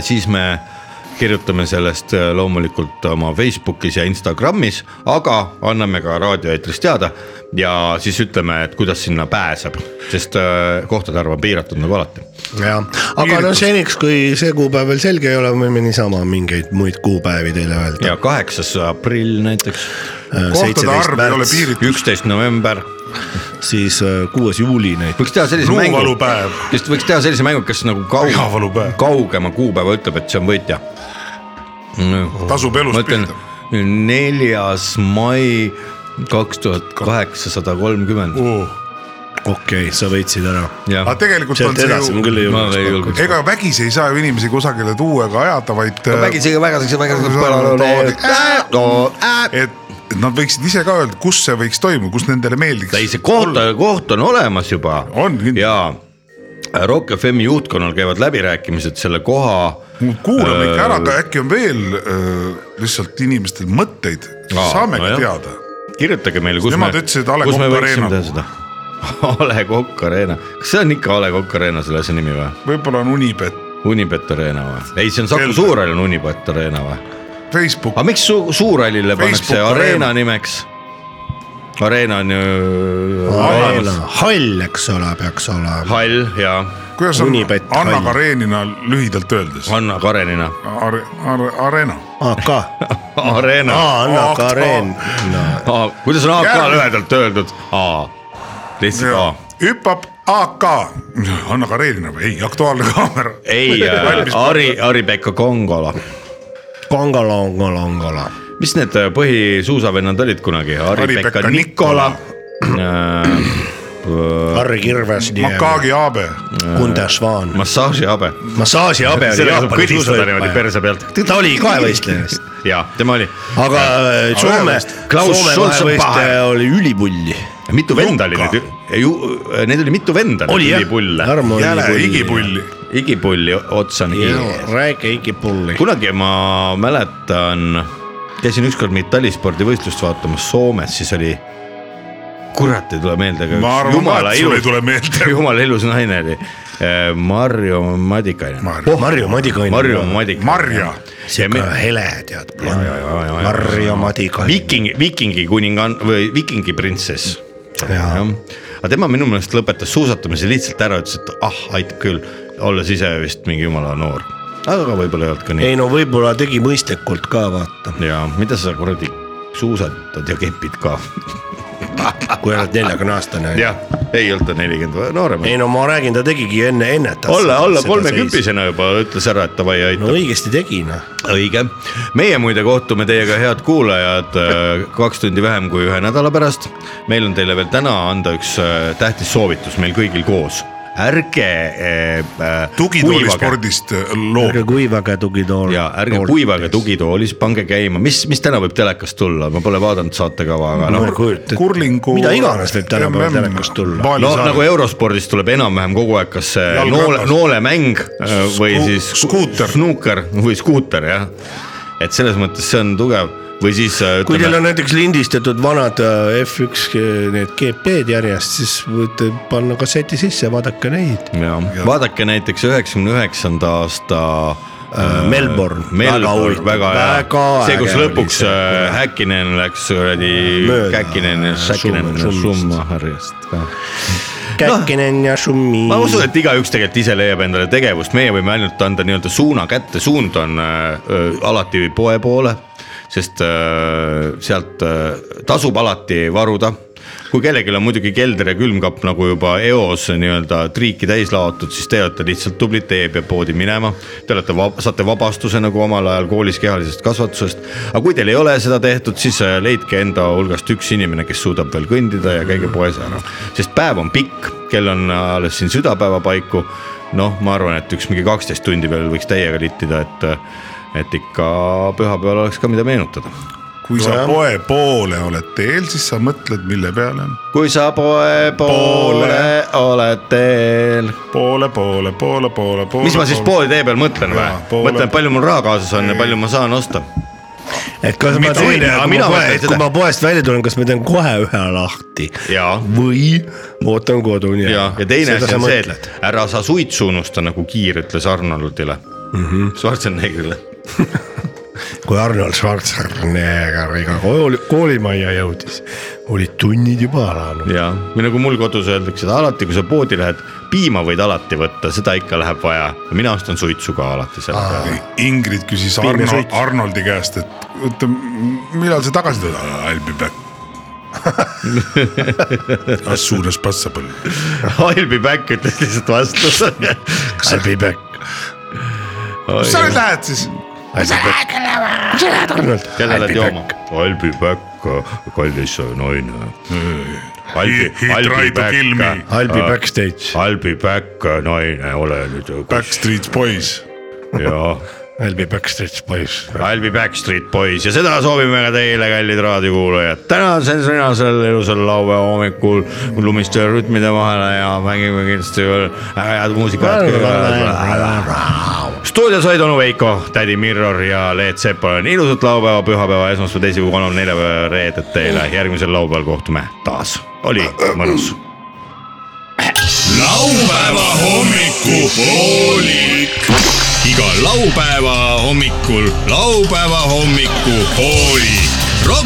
Speaker 1: siis me kirjutame sellest äh, loomulikult oma Facebookis ja Instagramis , aga anname ka raadioeetris teada ja siis ütleme , et kuidas sinna pääseb , sest äh, kohtade arv on piiratud nagu alati
Speaker 10: jah , aga no seniks , kui see kuupäev veel selge ei ole , võime niisama mingeid muid kuupäevi teile öelda .
Speaker 1: ja kaheksas aprill näiteks ,
Speaker 5: kohtade arv ei ole piiritud .
Speaker 1: üksteist november .
Speaker 10: siis kuues juuli näiteks .
Speaker 1: võiks teha sellise mängu ,
Speaker 5: luuvalupäev ,
Speaker 1: kes võiks teha sellise mängu , kes nagu kaug,
Speaker 5: Vihavalupäev.
Speaker 1: kaugema kuupäeva ütleb , et see on võitja .
Speaker 5: tasub
Speaker 1: ma
Speaker 5: elus
Speaker 1: ütlen
Speaker 5: pidada .
Speaker 1: neljas mai kaks tuhat kaheksasada kolmkümmend .
Speaker 10: okei okay, , sa võitsid ära .
Speaker 1: jah
Speaker 5: aga , tegelikult on
Speaker 10: sealt
Speaker 5: see
Speaker 10: edasi ma
Speaker 5: ju ,
Speaker 10: küll ei
Speaker 1: ma ei
Speaker 10: julge .
Speaker 1: julgeks .
Speaker 5: ega vägisi ei saa ju inimesi kusagile tuua ega ajada , vaid .
Speaker 1: vägisi , vägisi , vägisi .
Speaker 5: et et nad võiksid ise ka öelda , kus see võiks toimuda , kus nendele meeldiks .
Speaker 1: ei , see koht , koht on olemas juba .
Speaker 5: On kindlasti.
Speaker 1: ja äh, Rock FM-i juhtkonnal käivad läbirääkimised selle koha .
Speaker 5: kuulame ikka ära , aga äkki on veel öö, lihtsalt inimestel mõtteid ,
Speaker 1: Aa,
Speaker 5: saamegi
Speaker 1: nojah.
Speaker 5: teada .
Speaker 1: kirjutage meile , kus
Speaker 5: Nemad
Speaker 1: me ,
Speaker 5: ütlesid A Le
Speaker 1: kus me
Speaker 5: Coq
Speaker 1: võiksime
Speaker 5: Arena.
Speaker 1: teha seda . Ale Kokk Arena , kas see on ikka A Le Kokk Arena selle asja nimi või ?
Speaker 5: võib-olla on Unibet ,
Speaker 1: Unibet Arena või ? ei , see on Saku
Speaker 5: Selge.
Speaker 1: Suurhall on Unibet Arena või ?
Speaker 5: Facebook
Speaker 1: aga miks su Suurhallile pannakse
Speaker 5: Facebook
Speaker 1: Arena
Speaker 5: Arena.
Speaker 1: nimeks ? Arena on ju
Speaker 10: Arena
Speaker 1: Arena. ,
Speaker 10: hall , eks ole , peaks olema .
Speaker 1: hall ja
Speaker 5: kuidas on
Speaker 10: Unibet,
Speaker 5: Anna
Speaker 10: Kai.
Speaker 5: Karenina lühidalt öeldes
Speaker 1: Anna Karenina ,
Speaker 5: are, , are, Arena .
Speaker 10: AK ,
Speaker 1: Arena ,
Speaker 10: Anna
Speaker 5: AK.
Speaker 10: Karen ,
Speaker 1: kuidas on AK
Speaker 5: Järgmine.
Speaker 1: lühedalt öeldud ? A , lihtsalt A .
Speaker 5: hüppab AK , Anna Karenina või ei , Aktuaalne Kaamera .
Speaker 1: ei , äh, Ari , Ari-Pekka Kongola ,
Speaker 10: kongalongalongala .
Speaker 1: mis need äh, põhisuusavennad olid kunagi , Ari-Pekka
Speaker 5: Ari-Pekka
Speaker 1: Nikola .
Speaker 10: Harri Kirves ,
Speaker 5: Makagi Aabe ,
Speaker 10: Kunde Švan ,
Speaker 1: massaažiabe .
Speaker 10: massaažiabe oli
Speaker 1: sellega saab
Speaker 10: Jaapani
Speaker 1: kõdistada niimoodi
Speaker 10: suusavõitleja .
Speaker 1: perse pealt .
Speaker 10: ta oli kaevõistleja vist .
Speaker 1: ja tema oli ,
Speaker 10: aga äh, Soome ,
Speaker 1: Klaus
Speaker 10: Soome
Speaker 1: Scholzenbach.
Speaker 10: kaevõistleja oli ülipulli .
Speaker 1: mitu venda oli neid , äh, neid oli mitu venda .
Speaker 10: oli jah , Tarmo
Speaker 5: jäle
Speaker 10: Igipulli .
Speaker 5: igipulli .
Speaker 1: igipulli otsani kinni .
Speaker 10: räägi Igipulli .
Speaker 1: kunagi ma mäletan , käisin ükskord mingit talispordivõistlust vaatamas Soomes , siis oli , kurat ei tule meelde ,
Speaker 5: ma
Speaker 1: aga üks
Speaker 5: arvan ka ,
Speaker 1: jumala
Speaker 5: et sul ei
Speaker 1: ilus ,
Speaker 5: tule meelde .
Speaker 1: jumala ilus naine oli , Marju Madikainen .
Speaker 10: Marju Madikainen .
Speaker 1: Marju Madikainen .
Speaker 5: Marja ,
Speaker 10: sihuke hele , tead . Marju Madikainen .
Speaker 1: viikingi , viikingi kuningann või viikingi printsess . aga tema minu meelest lõpetas suusatamise lihtsalt ära , ütles , et ah , aitab küll , olles ise vist mingi jumala noor . aga võib-olla ei olnud ka nii .
Speaker 3: ei no võib-olla tegi mõistlikult ka vaata ,
Speaker 1: ja mida sa kuradi suusatad ja kepid ka .
Speaker 3: kui oled neljakümne aastane .
Speaker 1: jah , ei olnud ta nelikümmend , noorem .
Speaker 3: ei no ma räägin , ta tegigi enne ennetas .
Speaker 1: olla , olla . kolmekümpisena juba ütles ära , et davai , aitab .
Speaker 3: no õigesti tegi noh .
Speaker 1: õige , meie muide kohtume teiega , head kuulajad , kaks tundi vähem kui ühe nädala pärast . meil on teile veel täna anda üks äh, tähtis soovitus meil kõigil koos , ärge äh, äh, kuivage
Speaker 5: tugitoolispordist loob
Speaker 3: ärge kuivage tugitool .
Speaker 1: ja Oh. ärge kuivage . tugitoolis , pange käima , mis , mis täna võib telekast tulla , ma pole vaadanud saatekava , aga noh ,
Speaker 5: kurlingu .
Speaker 3: mida iganes võib tänapäeval telekast tulla.
Speaker 1: no nagu eurospordis tuleb enam-vähem kogu aeg , kas see noole ,
Speaker 5: Jalgratas.
Speaker 1: noolemäng äh, või
Speaker 5: Sku-
Speaker 1: siis sku-
Speaker 5: skuuter.
Speaker 1: snuuker või skuuter jah , et selles mõttes see on tugev või siis äh,
Speaker 3: kui teil
Speaker 1: ütleme
Speaker 3: on näiteks lindistatud vanad äh, F1 äh, need GP-d järjest , siis võite panna kasseti sisse , vaadake neid .
Speaker 1: ja vaadake näiteks üheksakümne üheksanda aasta äh,
Speaker 3: Melbourne, väga
Speaker 1: Melbourne ,
Speaker 3: huvitav,
Speaker 1: väga hea
Speaker 3: väga ,
Speaker 1: see , kus
Speaker 3: äge oli
Speaker 1: lõpuks
Speaker 3: see.
Speaker 1: äh, Häkkinen läks kuradi ,
Speaker 3: Mööda.
Speaker 1: Häkkinen ja Häkkinen ja
Speaker 3: Schumacherist.
Speaker 1: Schumacherist ka .
Speaker 3: käkinen ja šummi .
Speaker 1: ma usun , et igaüks tegelikult ise leiab endale tegevust , meie võime ainult anda nii-öelda suuna kätte , suund on äh, äh, alati poe poole , sest äh, sealt äh, tasub alati varuda kui kellelgi on muidugi kelder ja külmkapp nagu juba eos nii-öelda triiki täis laotud , siis te olete lihtsalt tublid , te ei pea poodi minema . Te olete , saate vabastuse nagu omal ajal koolis kehalisest kasvatusest . aga kui teil ei ole seda tehtud , siis äh, leidke enda hulgast üks inimene , kes suudab veel kõndida ja käige poes ära . sest päev on pikk , kell on alles siin südapäeva paiku . noh , ma arvan , et üks mingi kaksteist tundi veel võiks täiega littida , et , et ikka pühapäeval oleks ka mida meenutada
Speaker 5: kui sa poe poole oled teel , siis sa mõtled , mille peale ?
Speaker 1: kui sa poe poole
Speaker 5: Poole.
Speaker 1: oled teel .
Speaker 5: poole , poole , poole , poole , poole .
Speaker 1: mis ma siis poole tee peal mõtlen või
Speaker 5: Jaa, ? poole-
Speaker 1: mõtlen , palju mul raha kaasas on ja palju ma saan osta .
Speaker 3: et kas ma
Speaker 1: Mitte
Speaker 3: teen
Speaker 1: teine, , aga
Speaker 3: kui,
Speaker 1: mina
Speaker 3: ma
Speaker 1: mõtlen
Speaker 3: poe- et
Speaker 1: seda.
Speaker 3: kui ma poest välja tulen , kas ma teen kohe ühe lahti
Speaker 1: Jaa.
Speaker 3: või ootan koduni
Speaker 1: ja , ja teine asi on see , et ära sa suitsu unusta , nagu Kiir ütles Arnoldile mm -hmm. , Schwarzeneggerile .
Speaker 3: kui Arnold Schwarzeneggeriga kooli , koolimajja jõudis , olid tunnid juba alanud .
Speaker 1: ja , või nagu mul kodus öeldakse , et alati , kui sa poodi lähed , piima võid alati võtta , seda ikka läheb vaja . mina ostan suitsu ka alati selle peale .
Speaker 5: Ingrid küsis Arno, Arnoldi käest , et oota , millal sa tagasi tuled ? I will be back . As soon as possible .
Speaker 1: I'll be back ütles lihtsalt vastu .
Speaker 3: I be back .
Speaker 5: kus sa nüüd lähed siis ?
Speaker 1: jälle lähed jooma . I'll be back , kallis naine .
Speaker 5: He- he tried to kill me.
Speaker 3: I be backstage .
Speaker 1: I'll be back , naine , ole nüüd .
Speaker 5: Backstreet Boys .
Speaker 1: jaa ,
Speaker 3: I be backstage boys .
Speaker 1: I'll be back street boys ja seda soovime ka teile , kallid raadiokuulajad . tänasel sõnasel ilusal laupäeva hommikul lumiste rütmide vahele ja mängime kindlasti veel väga head muusikat . stuudios olid onu Veiko , tädi Mirror ja Leet Sepolin , ilusat laupäeva , pühapäeva , esmaspäeva , teisipäeva , kolmapäeva , neljapäeva , reedet teile , järgmisel laupäeval kohtume taas , oli mõnus .
Speaker 4: laupäeva hommikupoolik . iga laupäeva hommikul laupäeva hommikupoolik . Rock